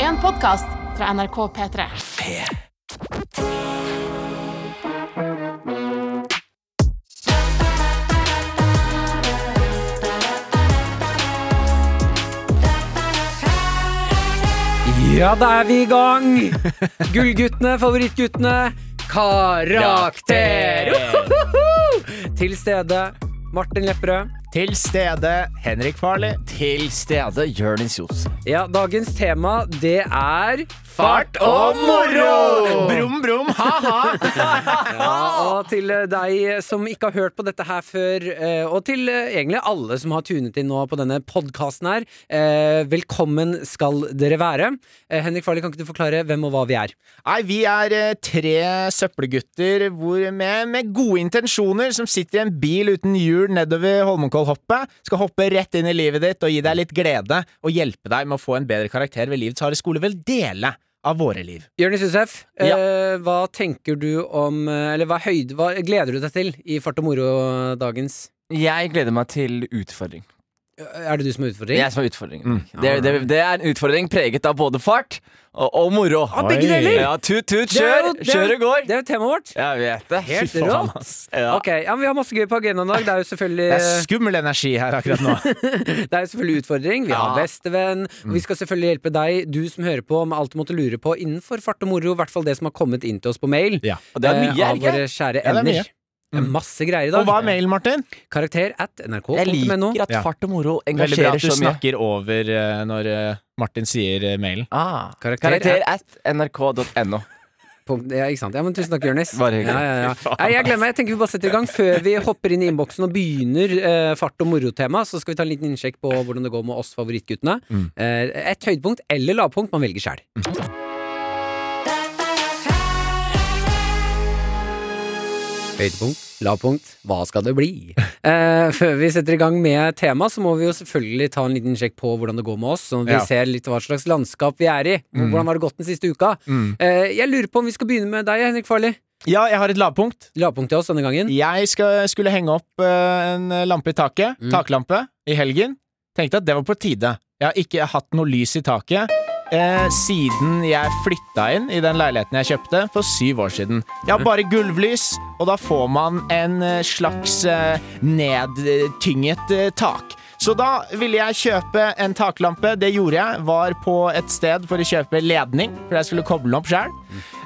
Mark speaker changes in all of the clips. Speaker 1: en podkast fra NRK P3.
Speaker 2: Ja, da er vi i gang! Gullguttene, favorittguttene. Karakter! Uhuhu! Til stede Martin Lepperød.
Speaker 3: Til stede Henrik Farley. Til stede Jonis Johs.
Speaker 2: Ja, dagens tema, det er
Speaker 3: Brum, brum, ha-ha!
Speaker 2: Ja, og til eh, deg som ikke har hørt på dette her før, eh, og til eh, egentlig alle som har tunet inn nå på denne podkasten her, eh, velkommen skal dere være. Eh, Henrik Farley, kan ikke du forklare hvem og hva vi er?
Speaker 3: Nei, vi er eh, tre søppelgutter hvor med, med gode intensjoner som sitter i en bil uten hjul nedover Holmenkollhoppet. Skal hoppe rett inn i livet ditt og gi deg litt glede og hjelpe deg med å få en bedre karakter ved livets harde skole. Vel dele av våre liv.
Speaker 2: Jonis Josef,
Speaker 3: Ja.
Speaker 2: eh, hva tenker du om eh, Eller hva, høyde, hva gleder du deg til i Fart og moro-dagens?
Speaker 4: Jeg gleder meg til utfordring.
Speaker 2: Er det du som er utfordring?
Speaker 4: Jeg som er
Speaker 2: Mm.
Speaker 4: utfordringen. Det, det, det er en utfordring preget av både fart og, og moro.
Speaker 2: Ah, begge
Speaker 3: Oi.
Speaker 2: deler!
Speaker 4: Ja, tut, tut,
Speaker 2: Det er jo-
Speaker 4: kjør!
Speaker 2: det er-
Speaker 4: Kjør og går!
Speaker 2: Det er jo temaet vårt.
Speaker 4: Jeg vet det.
Speaker 2: Helt
Speaker 4: Fy faen,
Speaker 2: rått.
Speaker 4: ass. Ja.
Speaker 2: Ok, ja, men Vi har masse gøy på agendaen i dag. Det er jo selvfølgelig
Speaker 3: Det er skummel energi her akkurat nå.
Speaker 2: Det er jo selvfølgelig utfordring. Vi har
Speaker 4: Ja. Mm.
Speaker 2: bestevenn. og Vi skal selvfølgelig hjelpe deg, du som hører på, med alt du måtte lure på innenfor fart og moro. I hvert fall det som har kommet inn til oss på mail.
Speaker 3: Ja.
Speaker 4: Og det er
Speaker 2: eh,
Speaker 4: mye, er
Speaker 2: av
Speaker 4: det
Speaker 2: våre
Speaker 4: ikke?
Speaker 2: kjære
Speaker 3: Ja, det er
Speaker 2: ender.
Speaker 3: mye. Mm.
Speaker 2: Det er masse greier i
Speaker 3: Og
Speaker 2: dag.
Speaker 3: hva er mailen, Martin?
Speaker 2: Karakter at
Speaker 4: Jeg
Speaker 2: nrk.no.
Speaker 4: liker at
Speaker 3: Ja.
Speaker 4: fart og moro
Speaker 3: Veldig bra
Speaker 4: engasjerer
Speaker 3: at du
Speaker 4: så mye.
Speaker 3: snakker over eh, når eh, Martin sier eh, mailen.
Speaker 4: Ah,
Speaker 2: Karakter
Speaker 4: karakter at nrk.no.
Speaker 2: Punkt- Ja, ikke sant. Ja, men tusen takk, Jonis.
Speaker 4: Bare hyggelig.
Speaker 2: Ja, ja, ja. Nei, Jeg gleder meg. Jeg tenker vi bare setter i gang før vi hopper inn i innboksen og begynner eh, fart- og morotema. Så skal vi ta en liten innsjekk på hvordan det går med oss favorittguttene.
Speaker 4: Mm.
Speaker 2: Eh, et høydepunkt eller lavpunkt man velger sjæl. Høydepunkt, lavpunkt, hva skal det bli? Eh, før vi setter i gang med tema, så må vi jo selvfølgelig ta en liten sjekk på hvordan det går med oss, sånn at vi
Speaker 3: Ja.
Speaker 2: ser litt hva slags landskap vi er i.
Speaker 4: Mm.
Speaker 2: Hvordan har det gått den siste uka? Eh, jeg lurer på om vi skal begynne med deg, Henrik Farley.
Speaker 3: Ja, jeg har et lavpunkt.
Speaker 2: Lavpunkt til oss denne gangen.
Speaker 3: Jeg skal, skulle henge opp eh, en lampe i taket,
Speaker 2: Mm.
Speaker 3: taklampe, i helgen. Tenkte at det var på tide. Jeg har ikke hatt noe lys i taket eh, siden jeg flytta inn i den leiligheten jeg kjøpte for syv år siden. Jeg har bare gulvlys, og da får man en eh, slags eh, nedtynget eh, tak. Så da ville jeg kjøpe en taklampe. Det gjorde jeg. Var på et sted for å kjøpe ledning, for jeg skulle koble den opp sjøl.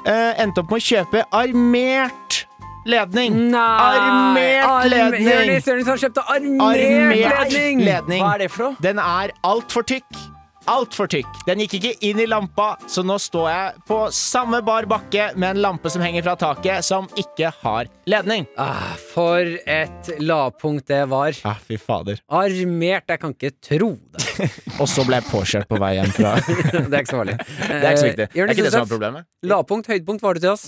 Speaker 3: endte opp med å kjøpe armert ledning. Armert ledning.
Speaker 2: Jonis Jonis har kjøpt armert,
Speaker 3: Armert
Speaker 2: ledning!
Speaker 3: ledning.
Speaker 4: Hva er det for noe?
Speaker 3: Den er altfor tykk. Altfor tykk. Den gikk ikke inn i lampa, så nå står jeg på samme bar bakke med en lampe som henger fra taket, som ikke har ledning.
Speaker 2: Ah, for et lavpunkt det var.
Speaker 3: Ja, Ah, fy fader.
Speaker 2: Armert, jeg kan ikke tro det.
Speaker 3: Og så ble jeg påkjørt på vei hjem fra Det
Speaker 2: Det er ikke så farlig.
Speaker 3: er ikke så viktig. Det er
Speaker 2: Jonis
Speaker 3: ikke det som er
Speaker 2: Josef,
Speaker 3: problemet.
Speaker 2: lavpunkt, høydepunkt var det til oss.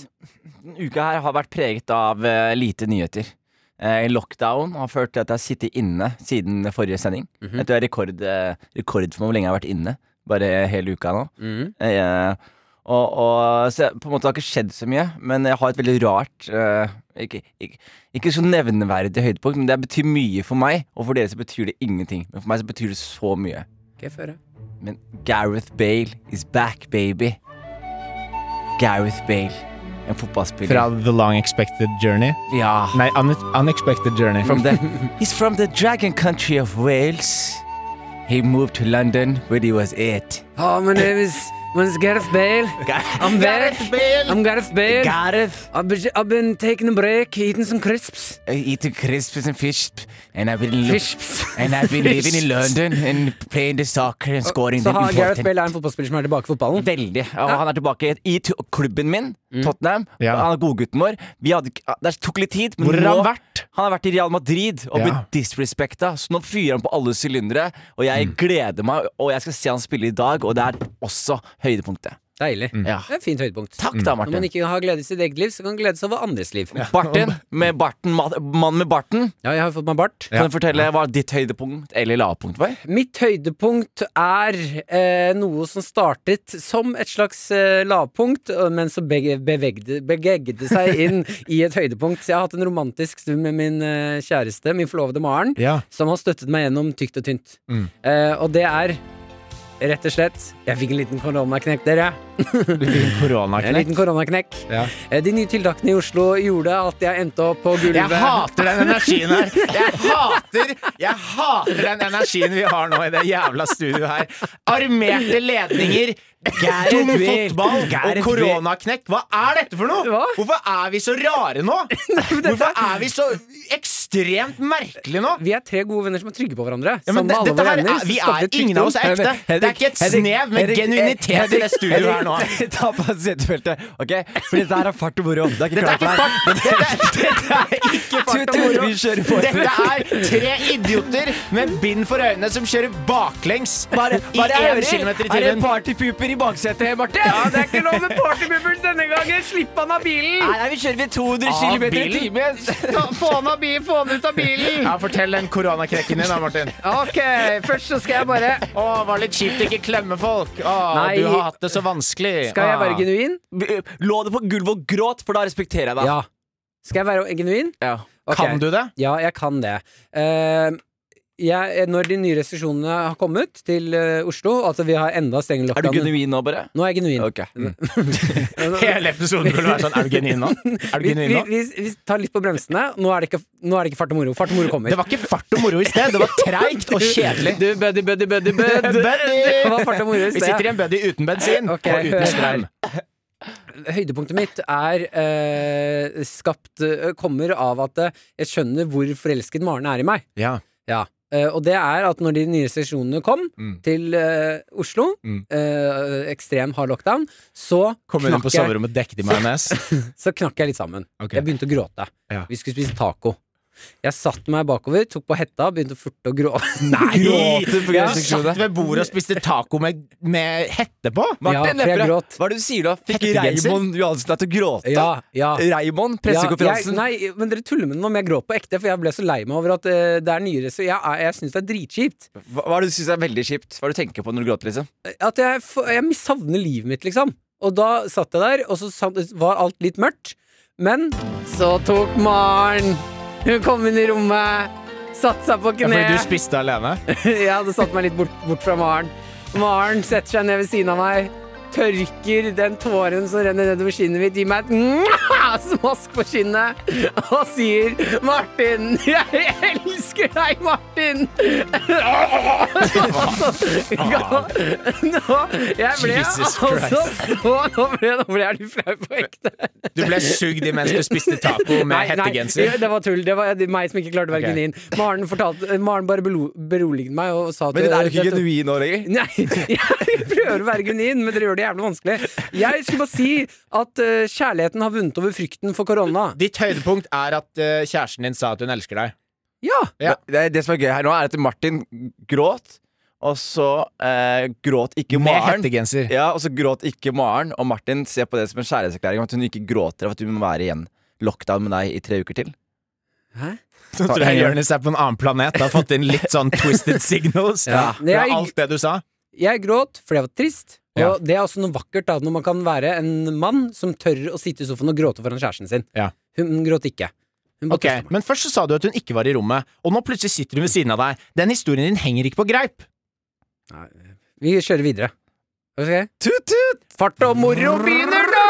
Speaker 4: Denne uka her har vært preget av eh, lite nyheter. Eh, lockdown har ført til at jeg har sittet inne siden forrige sending.
Speaker 2: Mhm.
Speaker 4: Jeg tror det er rekord, eh, rekord for meg hvor lenge jeg har vært inne. Bare hele uka nå. Eh, og, og, så jeg, på en måte har det ikke skjedd så mye, men jeg har et veldig rart eh, ikke, ikke, ikke så nevneverdig høydepunkt, men det betyr mye for meg. Og for dere så betyr det ingenting. Men for meg så betyr det så mye.
Speaker 2: Ok, få høre.
Speaker 4: Men Gareth Bale is back, baby. Gareth Bale. En fotballspiller.
Speaker 3: Fra The Long Expected Journey.
Speaker 4: ja.
Speaker 3: Nei, Unexpected Journey.
Speaker 4: from the he's from the dragon country of Wales. He moved to London when he was eight.
Speaker 2: Ah, my name is, my name is Gareth Bale. I'm back. I'm Gareth Bale.
Speaker 4: Gareth
Speaker 2: I've been, I've been taking a break, eating some crisps.
Speaker 4: I eat Uh, crisps and fish, and I've been lo-
Speaker 2: Crisps.
Speaker 4: and I've been living in London and playing the soccer and scoring
Speaker 2: Så
Speaker 4: the
Speaker 2: har Gareth
Speaker 4: important.
Speaker 2: Bale er en fotballspiller som er tilbake i fotballen.
Speaker 4: Veldig. Og han er tilbake i tu- klubben min, Tottenham.
Speaker 3: Ja.
Speaker 4: Han er godgutten vår. Vi hadde, ikke- det tok litt tid, men
Speaker 3: Hvor har
Speaker 4: nå
Speaker 3: han vært?
Speaker 4: Han har vært i Real Madrid og
Speaker 3: Ja.
Speaker 4: blitt disrespekta, så nå fyrer han på alle sylindere. Og jeg gleder meg, og jeg skal se han spille i dag, og det er også høydepunktet.
Speaker 2: Deilig.
Speaker 4: Ja.
Speaker 2: Det er et fint høydepunkt.
Speaker 4: Takk da,
Speaker 2: Når man
Speaker 4: Martin.
Speaker 2: ikke har glede i sitt eget liv, så kan man glede seg over andres liv. Ja,
Speaker 4: Barten med barten, ma- mann med barten.
Speaker 2: jeg har fått meg bart.
Speaker 4: Kan du fortelle hva ditt høydepunkt eller lavpunkt var?
Speaker 2: Mitt høydepunkt er eh, noe som startet som et slags eh, lavpunkt, eh, men som bege- bevegde, bevegde seg inn i et høydepunkt. Så jeg har hatt en romantisk stund med min eh, kjæreste, min forlovede Maren,
Speaker 3: Ja.
Speaker 2: som har støttet meg gjennom tykt og tynt.
Speaker 3: Mm.
Speaker 2: Eh, og det er rett og slett. Jeg fikk en liten koronaknekk, dere.
Speaker 3: Du fikk
Speaker 2: En
Speaker 3: koronaknekk.
Speaker 2: liten koronaknekk.
Speaker 3: Ja.
Speaker 2: Eh, De nye tiltakene i Oslo gjorde at jeg endte opp på
Speaker 3: Jeg
Speaker 2: gulvet.
Speaker 3: hater den energien her! Jeg hater, jeg hater den energien vi har nå i det jævla studioet her. Armerte ledninger, dum
Speaker 2: Bale.
Speaker 3: fotball og
Speaker 2: Gareth Bale.
Speaker 3: koronaknekk. Hva er dette for noe?!
Speaker 2: Hva?
Speaker 3: Hvorfor er vi så rare nå? Hvorfor er vi så ekstremt merkelige nå?
Speaker 2: Vi er tre gode venner som er trygge på hverandre.
Speaker 4: Sånn
Speaker 3: Ja, men
Speaker 2: Sammen med
Speaker 3: det-
Speaker 2: alle
Speaker 3: dette
Speaker 2: våre
Speaker 3: her
Speaker 2: venner,
Speaker 3: er- vi
Speaker 2: så skapte
Speaker 3: er-
Speaker 2: et trygt
Speaker 3: ingen av
Speaker 2: rom.
Speaker 3: oss er ekte. Det er ikke et snev med genuinitet i det studioet her nå.
Speaker 4: Ta på deg setefeltet, OK? For dette her er fart og moro. Det er
Speaker 3: Dette
Speaker 4: ikke
Speaker 3: er ikke
Speaker 4: klart for
Speaker 3: fart!
Speaker 4: deg.
Speaker 3: Dette, dette er ikke fart og
Speaker 4: Tut, tut,
Speaker 3: moro!
Speaker 4: vi kjører på.
Speaker 3: Dette er tre idioter med bind for øynene som kjører baklengs
Speaker 4: Bare, bare
Speaker 3: i 1
Speaker 4: jeg
Speaker 3: km i
Speaker 4: hører, er det
Speaker 3: timen.
Speaker 4: partypooper i baksetet, Marte?
Speaker 2: Ja, det er ikke lov med partyboopers denne gangen! Slipp han av bilen!
Speaker 4: Nei, nei, vi kjører ved 200
Speaker 3: Av
Speaker 4: km i
Speaker 3: bilen?
Speaker 4: timen.
Speaker 2: Få han av bilen, få han ut av bilen!
Speaker 3: Ja, Fortell den koronakrekken din, da, Martin.
Speaker 2: Ok, først så skal jeg bare
Speaker 3: Å, var litt kjipt å ikke klemme folk. Å,
Speaker 2: Nei.
Speaker 3: du har hatt det så vanskelig.
Speaker 2: Skal jeg
Speaker 3: Ah.
Speaker 2: være genuin?
Speaker 4: Lå du på gulvet og gråt, for da respekterer jeg deg.
Speaker 2: Ja. Skal jeg være genuin?
Speaker 4: Ja.
Speaker 2: Ok.
Speaker 3: Kan du det?
Speaker 2: Ja, jeg kan det. Eh, jeg, når de nye restriksjonene har kommet til eh, Oslo, altså vi har enda strengere
Speaker 4: Er du
Speaker 2: lockdown
Speaker 4: genuin nå, bare?
Speaker 2: Nå er jeg genuin.
Speaker 4: Ok.
Speaker 3: Hele episoden burde være sånn. Er du genuin nå? Er du
Speaker 2: Vi,
Speaker 3: genuin
Speaker 2: vi,
Speaker 3: nå?
Speaker 2: vi, vi tar litt på bremsene. Nå er det ikke, nå er det ikke fart og moro. Fart og moro kommer.
Speaker 3: Det var ikke fart og moro i sted. Det var treigt og kjedelig.
Speaker 4: Du, buddy, buddy, buddy, buddy.
Speaker 2: Det var
Speaker 3: Buddy!
Speaker 2: fart og moro i
Speaker 3: Vi sitter
Speaker 2: sted.
Speaker 3: i en buddy uten bensin
Speaker 2: Ok,
Speaker 3: og uten
Speaker 2: hør
Speaker 3: strøm.
Speaker 2: Høydepunktet mitt er eh, skapt eh, Kommer av at eh, jeg skjønner hvor forelsket Maren er i meg.
Speaker 3: Ja.
Speaker 2: Eh, og det er at når de nye restriksjonene kom
Speaker 3: Mm.
Speaker 2: til eh, Oslo,
Speaker 3: Mm.
Speaker 2: eh, ekstrem hard lockdown, så
Speaker 3: Kommer inn
Speaker 2: knakk
Speaker 3: på
Speaker 2: jeg
Speaker 3: soverommet dekket i majones.
Speaker 2: så knakk jeg litt sammen.
Speaker 3: Ok.
Speaker 2: Jeg begynte å gråte.
Speaker 3: Ja.
Speaker 2: Vi skulle spise taco. Jeg satt meg bakover, tok på hetta, begynte fort å gråte.
Speaker 3: Nei!
Speaker 4: Gråter på
Speaker 3: Jeg
Speaker 4: grønnseksjonen.
Speaker 3: satt ved bordet og spiste taco med, med hette på.
Speaker 2: Ja,
Speaker 4: Martin
Speaker 2: for jeg
Speaker 4: Lepperød,
Speaker 2: gråt.
Speaker 4: hva er det du sier da? Fikk
Speaker 3: Hettegenser?
Speaker 4: Raymond Johansen deg til å gråte?
Speaker 2: Ja, ja.
Speaker 3: Eh,
Speaker 4: Raymond,
Speaker 2: Ja, jeg,
Speaker 4: pressekonferansen.
Speaker 2: nei, men dere tuller med meg om jeg gråt på ekte, for jeg ble så lei meg over at eh, det er nyere, så jeg, er- jeg syns det er dritkjipt.
Speaker 4: hva, hva er det du syns er veldig kjipt? Hva er det du tenker på når du gråter? liksom?
Speaker 2: At jeg, f- jeg savner livet mitt, liksom. Og da satt jeg der, og så sa- var alt litt mørkt. Men så tok Maren. Hun kom inn i rommet, satte seg på
Speaker 3: Ja,
Speaker 2: kne.
Speaker 3: Fordi du spiste alene.
Speaker 2: Jeg hadde satt meg litt bort, bort fra Maren. Maren setter seg ned ved siden av meg, tørker den tåren som renner nedover kinnet mitt, gir meg et mwah! smask på kinnet og sier 'Martin, jeg elsker deg, Martin'. Nå, jeg ble
Speaker 3: Jesus
Speaker 2: altså
Speaker 3: Christ.
Speaker 2: så Nå ble, nå ble jeg litt flau på ekte.
Speaker 3: Du ble sugd imens du spiste taco med
Speaker 2: Nei,
Speaker 3: hettegenser.
Speaker 2: det var tull. Det var meg som ikke klarte å være
Speaker 3: Ok.
Speaker 2: genuin. Maren, fortalte, Maren bare belo- beroliget meg og sa at
Speaker 4: Men den er ikke
Speaker 2: dette-
Speaker 4: genuin nå lenger.
Speaker 2: Nei, jeg prøver å være genuin, men dere gjør det jævlig vanskelig. Jeg skulle bare si at eh, kjærligheten har vunnet over frykten for korona.
Speaker 3: Ditt høydepunkt er at eh, kjæresten din sa at hun elsker deg.
Speaker 2: Ja!
Speaker 3: Ja.
Speaker 4: Det, det som er gøy her nå, er at Martin gråt, og så eh, gråt ikke
Speaker 3: Med
Speaker 4: Maren.
Speaker 3: hettegenser.
Speaker 4: Ja, og så gråt ikke Maren, og Martin ser på det som en kjærlighetserklæring om at hun ikke gråter av at hun må være igjen lockdown med deg i tre uker til.
Speaker 2: Hæ?
Speaker 3: Så tror jeg Jonis er på en annen planet. Har fått inn litt sånn twisted signals
Speaker 2: Ja.
Speaker 3: fra alt det du sa.
Speaker 2: Jeg gråt fordi jeg var trist. Og
Speaker 3: Ja.
Speaker 2: det er også noe vakkert da, når man kan være en mann som tør å sitte i sofaen og gråte foran kjæresten sin.
Speaker 3: Ja.
Speaker 2: Hun gråt ikke. Hun bare
Speaker 3: Ok,
Speaker 2: trøstet meg.
Speaker 3: Men først så sa du at hun ikke var i rommet, og nå plutselig sitter hun ved siden av deg. Den historien din henger ikke på greip.
Speaker 2: Vi kjører videre. Ok?
Speaker 4: Tut, tut!
Speaker 2: Fart og moro begynner nå!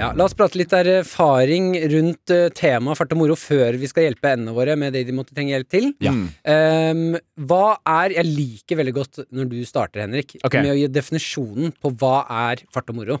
Speaker 2: Ja, la oss prate litt erfaring rundt eh, temaet fart og moro før vi skal hjelpe endene våre med det de måtte trenge hjelp til.
Speaker 3: Ja.
Speaker 4: Mm.
Speaker 2: Ehm, hva er Jeg liker veldig godt når du starter, Henrik,
Speaker 3: Ok.
Speaker 2: med å gi definisjonen på hva er fart og moro.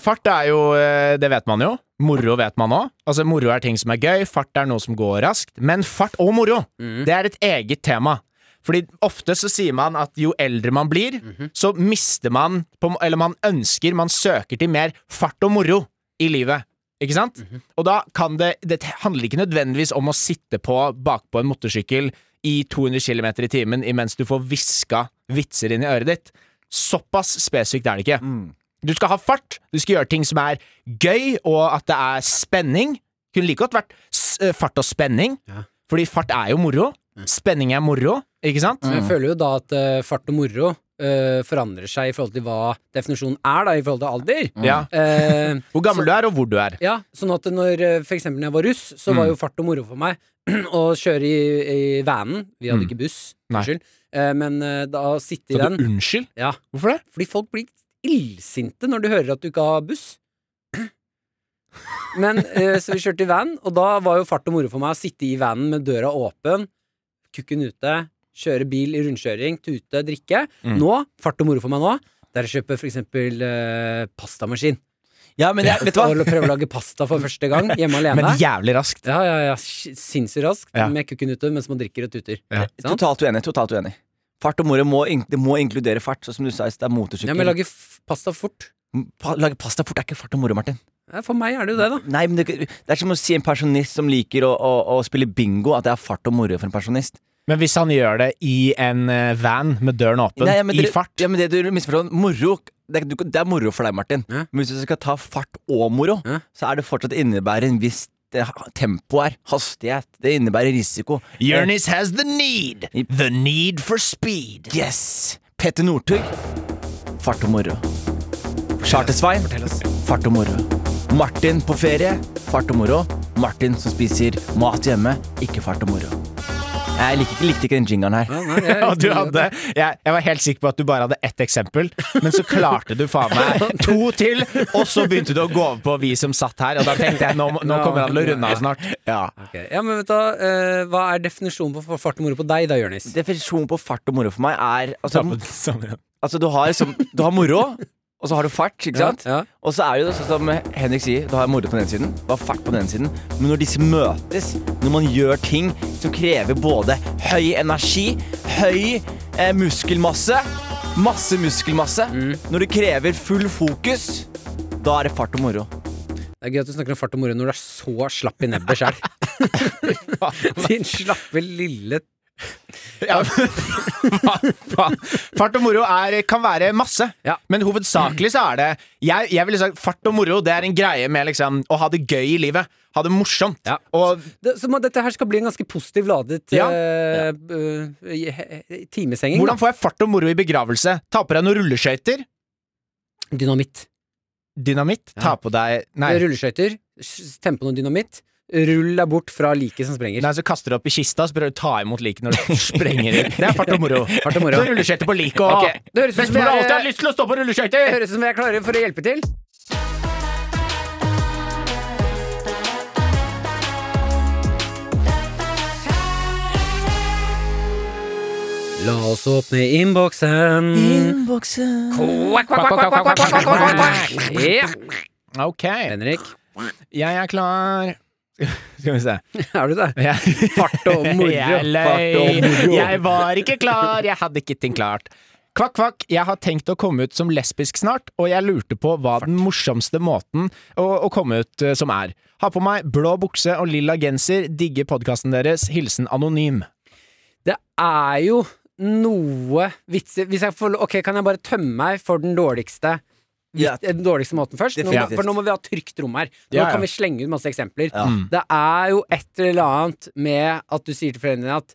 Speaker 3: Fart er jo eh, Det vet man jo. Moro vet man òg. Altså, moro er ting som er gøy, fart er noe som går raskt. Men fart og moro, det er et eget tema. Fordi ofte så sier man at jo eldre man blir, så mister man på, Eller man ønsker, man søker til mer fart og moro i livet. Ikke sant? Og da kan det Det handler ikke nødvendigvis om å sitte på bakpå en motorsykkel i 200 km i timen imens du får hviska vitser inn i øret ditt. Såpass spesifikt er det ikke.
Speaker 4: Mm.
Speaker 3: Du skal ha fart, du skal gjøre ting som er gøy, og at det er spenning. Kunne like godt vært s- eh, fart og spenning,
Speaker 2: Ja.
Speaker 3: fordi fart er jo moro. Spenning er moro, ikke sant?
Speaker 2: Så jeg føler jo da at eh, fart og moro eh, forandrer seg i forhold til hva definisjonen er, da, i forhold til alder.
Speaker 3: Ja.
Speaker 2: Eh,
Speaker 3: Hvor gammel du er, og hvor du er.
Speaker 2: ja, sånn at når eh, for eksempel når jeg var russ, så
Speaker 3: Mm.
Speaker 2: var jo fart og moro for meg å kjøre i, i vanen. Vi hadde
Speaker 3: Mm.
Speaker 2: ikke buss,
Speaker 3: Nei.
Speaker 2: unnskyld. Eh, men eh, da å sitte i
Speaker 3: Så
Speaker 2: den
Speaker 3: du unnskyld?
Speaker 2: Ja,
Speaker 3: Hvorfor det?
Speaker 2: fordi folk blir illsinte når du hører at du ikke har buss. Men eh, Så vi kjørte i van, og da var jo fart og moro for meg å sitte i vanen med døra åpen, kukken ute, kjøre bil i rundkjøring, tute, drikke.
Speaker 3: Mm.
Speaker 2: Nå, fart og moro for meg nå, det er å kjøpe for eksempel eh, pastamaskin.
Speaker 4: Ja, men jeg, vet du hva?
Speaker 2: Og prøve å lage pasta for første gang hjemme
Speaker 3: Men
Speaker 2: alene.
Speaker 3: jævlig raskt.
Speaker 2: Ja, ja, ja. s- Sinnssykt raskt
Speaker 3: Ja.
Speaker 2: med kukken ute mens man drikker og tuter.
Speaker 3: Ja.
Speaker 2: Sant?
Speaker 4: Totalt uenig. Totalt uenig. Fart og moro må, ink- det må inkludere fart, sånn som du sa i stad.
Speaker 2: Ja,
Speaker 4: Motorsykkel.
Speaker 2: men lage f- pasta fort.
Speaker 4: Pa- Lage pasta fort er ikke fart og moro, Martin.
Speaker 2: Ja, For meg er det jo det, da.
Speaker 4: Nei, men det, det er som å si en pensjonist som liker å, å, å spille bingo, at det er fart og moro for en pensjonist.
Speaker 3: Men hvis han gjør det i en eh, van med døren åpen,
Speaker 4: Nei, ja, men
Speaker 3: i
Speaker 4: dere-
Speaker 3: fart
Speaker 4: Ja, men det du misforstår, moro det, er- du, det er moro for deg, Martin.
Speaker 2: Ja.
Speaker 4: Men hvis du skal ta fart og moro,
Speaker 2: Ja.
Speaker 4: så er det fortsatt innebærer en viss eh, tempo her. Hastighet. Det innebærer risiko.
Speaker 3: Jonis has the need. The need for speed.
Speaker 4: Yes! Petter Northug. Fart og moro. Charter-Svein. Fart og moro. Martin på ferie. Fart og moro. Martin som spiser mat hjemme. Ikke fart og moro. Jeg likte ikke, likte ikke den jingeren her.
Speaker 2: Ja, nei, jeg-
Speaker 3: Ja, du hadde, jeg, jeg var helt sikker på at du bare hadde ett eksempel, men så klarte du faen meg to til, og så begynte du å gå over på vi som satt her, og da tenkte jeg nå, må- nå kommer han til å runde av snart.
Speaker 2: Ok, Ja, men vet du, hva, eh, Hva er definisjonen på f- fart og moro på deg, da, Jonis?
Speaker 4: Definisjonen på fart og moro for meg er Altså,
Speaker 3: Samme- samme igjen.
Speaker 4: altså du, har, som, du har moro, og så har du fart. ikke sant?
Speaker 2: Ja, ja.
Speaker 4: Og så er det jo sånn som Henrik sier, du har moro på den ene siden, du har fart på den ene siden. Men når disse møtes, når man gjør ting som krever både høy energi, høy eh, muskelmasse, masse muskelmasse
Speaker 3: Mm.
Speaker 4: Når det krever full fokus, da er det fart og moro.
Speaker 2: Det er gøy at du snakker om fart og moro når du er så slapp i nebbet sjøl. Din slappe lille
Speaker 3: Ja, men- hva faen? Fart og moro er, kan være masse,
Speaker 2: Ja.
Speaker 3: men hovedsakelig så er det jeg, jeg ville sagt fart og moro det er en greie med liksom, å ha det gøy i livet. Ha det morsomt.
Speaker 2: Ja.
Speaker 3: Og
Speaker 2: det, Så må- dette her skal bli en ganske positiv ladet
Speaker 3: Ja.
Speaker 2: eh, eh, i- he- he- timesenging.
Speaker 3: hvordan får jeg fart og moro i begravelse? Ta på deg noen rulleskøyter.
Speaker 2: da. Dynamitt.
Speaker 3: Dynamitt. Ta på deg Nei,
Speaker 2: Rulleskøyter. s- Temme på noe dynamitt. Rull deg bort fra liket som sprenger.
Speaker 3: nei så kaster du opp i kista, så prøver du å ta imot liket når du sprenger inn. Det er fart og moro.
Speaker 2: Fart og moro.
Speaker 3: Så rulleskøyter på liket og
Speaker 2: Ok, det høres ut som
Speaker 3: Best mulig,
Speaker 2: det er-
Speaker 3: alltid har lyst til å stå på rulleskøyter!
Speaker 2: høres ut som vi er klare for å hjelpe til. La oss åpne innboksen. Ja.
Speaker 3: Ok,
Speaker 2: Henrik,
Speaker 3: jeg er klar. Skal vi se.
Speaker 2: er du det?
Speaker 3: Jeg
Speaker 2: Fart og moro.
Speaker 3: Jeg
Speaker 2: Fart og
Speaker 3: løy.
Speaker 2: moro.
Speaker 3: Jeg var ikke klar. Jeg hadde ikke ting klart. Kvakk, kvakk, jeg har tenkt å komme ut som lesbisk snart, og jeg lurte på hva den morsomste måten å, å komme ut eh, som er. Ha på meg blå bukse og lilla genser, digger podkasten deres, hilsen anonym.
Speaker 2: Det er jo noe vitser Hvis jeg får lov Ok, kan jeg bare tømme meg for den dårligste?
Speaker 4: Ja.
Speaker 2: eh, Den dårligste måten først? Nå, må-
Speaker 4: Definitivt.
Speaker 2: for nå må vi ha trygt rom her. Nå
Speaker 3: Ja, ja.
Speaker 2: kan vi slenge ut masse eksempler.
Speaker 4: Ja.
Speaker 3: Mm.
Speaker 2: Det er jo et eller annet med at du sier til foreldrene dine at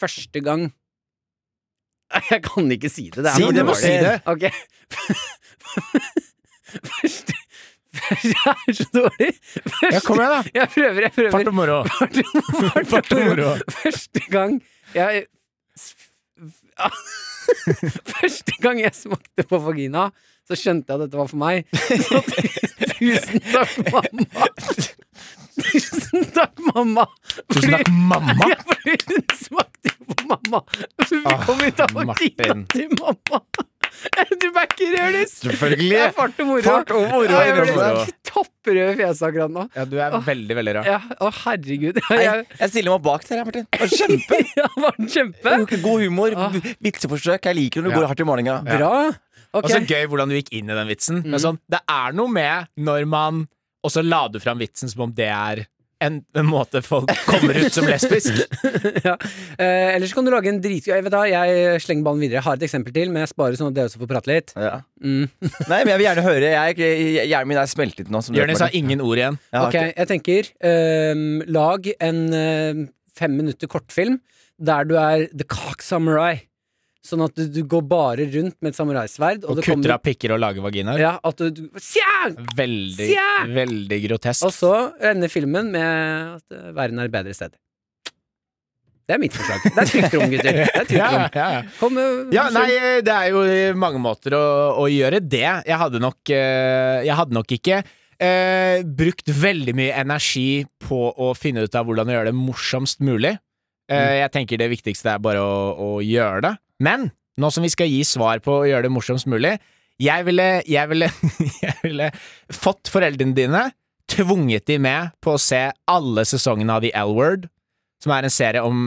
Speaker 2: første gang Jeg kan ikke si det. det er
Speaker 3: Si
Speaker 2: for
Speaker 3: det, må
Speaker 2: dårlig.
Speaker 3: si det.
Speaker 2: Ok. Første Det er så dårlig. Første,
Speaker 3: Ja, kom igjen, da!
Speaker 2: Jeg prøver, jeg prøver.
Speaker 3: Fart og moro.
Speaker 2: Fart og-
Speaker 3: Fart og moro.
Speaker 2: Første gang jeg Første gang jeg smakte på vagina, så skjønte jeg at dette var for meg. Så tusen takk, mamma. Tusen takk, mamma.
Speaker 3: Tusen takk, mamma!
Speaker 2: Ja, fordi hun smakte jo på mamma. Vi
Speaker 3: Åh,
Speaker 2: kom ut av vagina
Speaker 3: Martin.
Speaker 2: til mamma. Du backer, Jonis.
Speaker 3: Selvfølgelig.
Speaker 2: Det er fart og moro.
Speaker 3: Fart og moro.
Speaker 2: Ja, jeg
Speaker 3: Moro.
Speaker 2: ble topprød i fjeset akkurat nå.
Speaker 3: Ja, du er veldig, veldig rar.
Speaker 2: Ja, å herregud.
Speaker 4: Nei,
Speaker 2: Jeg,
Speaker 4: jeg stiller meg bak der, jeg, Martin. Det var Kjempe!
Speaker 2: ja, var den kjempe?
Speaker 4: God humor,
Speaker 2: Ah.
Speaker 4: vitseforsøk. Jeg liker når du
Speaker 3: Ja.
Speaker 4: går hardt i målinga.
Speaker 2: Bra.
Speaker 3: Og
Speaker 2: Ok. Mm.
Speaker 3: så Altså, gøy hvordan du gikk inn i den vitsen. Men sånn, det er noe med når man Og så la du fram vitsen som om det er en, en måte folk kommer ut som lesbisk.
Speaker 2: ja. eh, ellers kan du lage en dritgøy Jeg, vet da, jeg slenger ballen videre. Jeg har et eksempel til, men jeg sparer sånn at dere også får prate litt.
Speaker 4: Ja.
Speaker 2: Mm.
Speaker 4: Nei, men jeg vil gjerne høre. Jeg, er ikke- hjernen min er smeltet nå. Som du vet,
Speaker 3: Jonis har
Speaker 4: Martin.
Speaker 3: ingen ord igjen.
Speaker 4: Jeg har
Speaker 2: Ok, jeg tenker ehm, Lag eh, en ehm, fem minutter kortfilm der du er The Cock Samurai. Sånn at du, du går bare rundt med et samuraisverd, og,
Speaker 3: Og
Speaker 2: det
Speaker 3: kutter
Speaker 2: kommer
Speaker 3: av pikker og lager vaginaer.
Speaker 2: ja, at du, du Sjang!
Speaker 3: Veldig,
Speaker 2: Sjæ!
Speaker 3: veldig grotesk.
Speaker 2: Og så ender filmen med at eh, verden er et bedre sted. Det er mitt forslag. Det er trygt rom, gutter. Det er trygt
Speaker 3: ja,
Speaker 2: rom.
Speaker 3: ja, ja.
Speaker 2: Kom, eh,
Speaker 3: Ja,
Speaker 2: unnskyld.
Speaker 3: nei, det er jo eh, mange måter å, å gjøre det. Jeg hadde nok, eh, jeg hadde nok ikke eh, brukt veldig mye energi på å finne ut av hvordan å gjøre det morsomst mulig. Eh, jeg tenker det viktigste er bare å, å gjøre det. Men nå som vi skal gi svar på å gjøre det morsomst mulig, jeg ville, jeg ville, jeg ville fått foreldrene dine, tvunget de med på å se alle sesongene av The L-Word, som er en serie om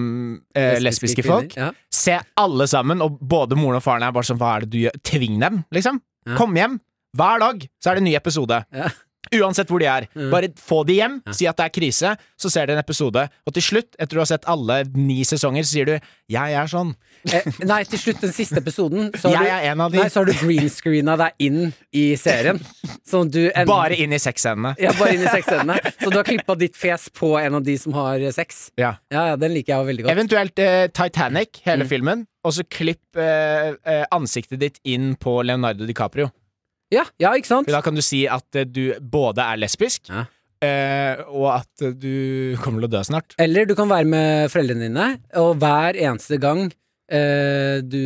Speaker 3: eh, lesbiske folk.
Speaker 2: kvinner. Ja.
Speaker 3: Se alle sammen, og både moren og faren er bare sånn Hva er det du gjør? Tving dem, liksom.
Speaker 2: Ja.
Speaker 3: Kom hjem. Hver dag så er det en ny episode.
Speaker 2: Ja.
Speaker 3: Uansett hvor de er.
Speaker 2: Mm.
Speaker 3: Bare få de hjem,
Speaker 2: Ja.
Speaker 3: si at det er krise, så ser de en episode. Og til slutt, etter du har sett alle ni sesonger, så sier du 'Jeg er sånn'.
Speaker 2: Eh, nei, til slutt, den siste episoden, så har,
Speaker 3: Jeg
Speaker 2: du,
Speaker 3: er en av de.
Speaker 2: nei, så har du greenscreena deg inn i serien. Sånn at du ender-
Speaker 3: Bare inn i sexscenene.
Speaker 2: ja, bare inn i sexscenene. Så du har klippa ditt fjes på en av de som har eh, sex.
Speaker 3: Ja.
Speaker 2: Ja, ja, den liker jeg jo veldig godt.
Speaker 3: Eventuelt eh, Titanic, hele
Speaker 2: Mm.
Speaker 3: filmen, og så klipp eh, eh, ansiktet ditt inn på Leonardo DiCaprio.
Speaker 2: Ja, ja ikke sant?
Speaker 3: For da kan du si at eh, du både er lesbisk,
Speaker 2: Ja.
Speaker 3: eh, og at eh, du kommer til å dø snart.
Speaker 2: Eller du kan være med foreldrene dine, og hver eneste gang eh, du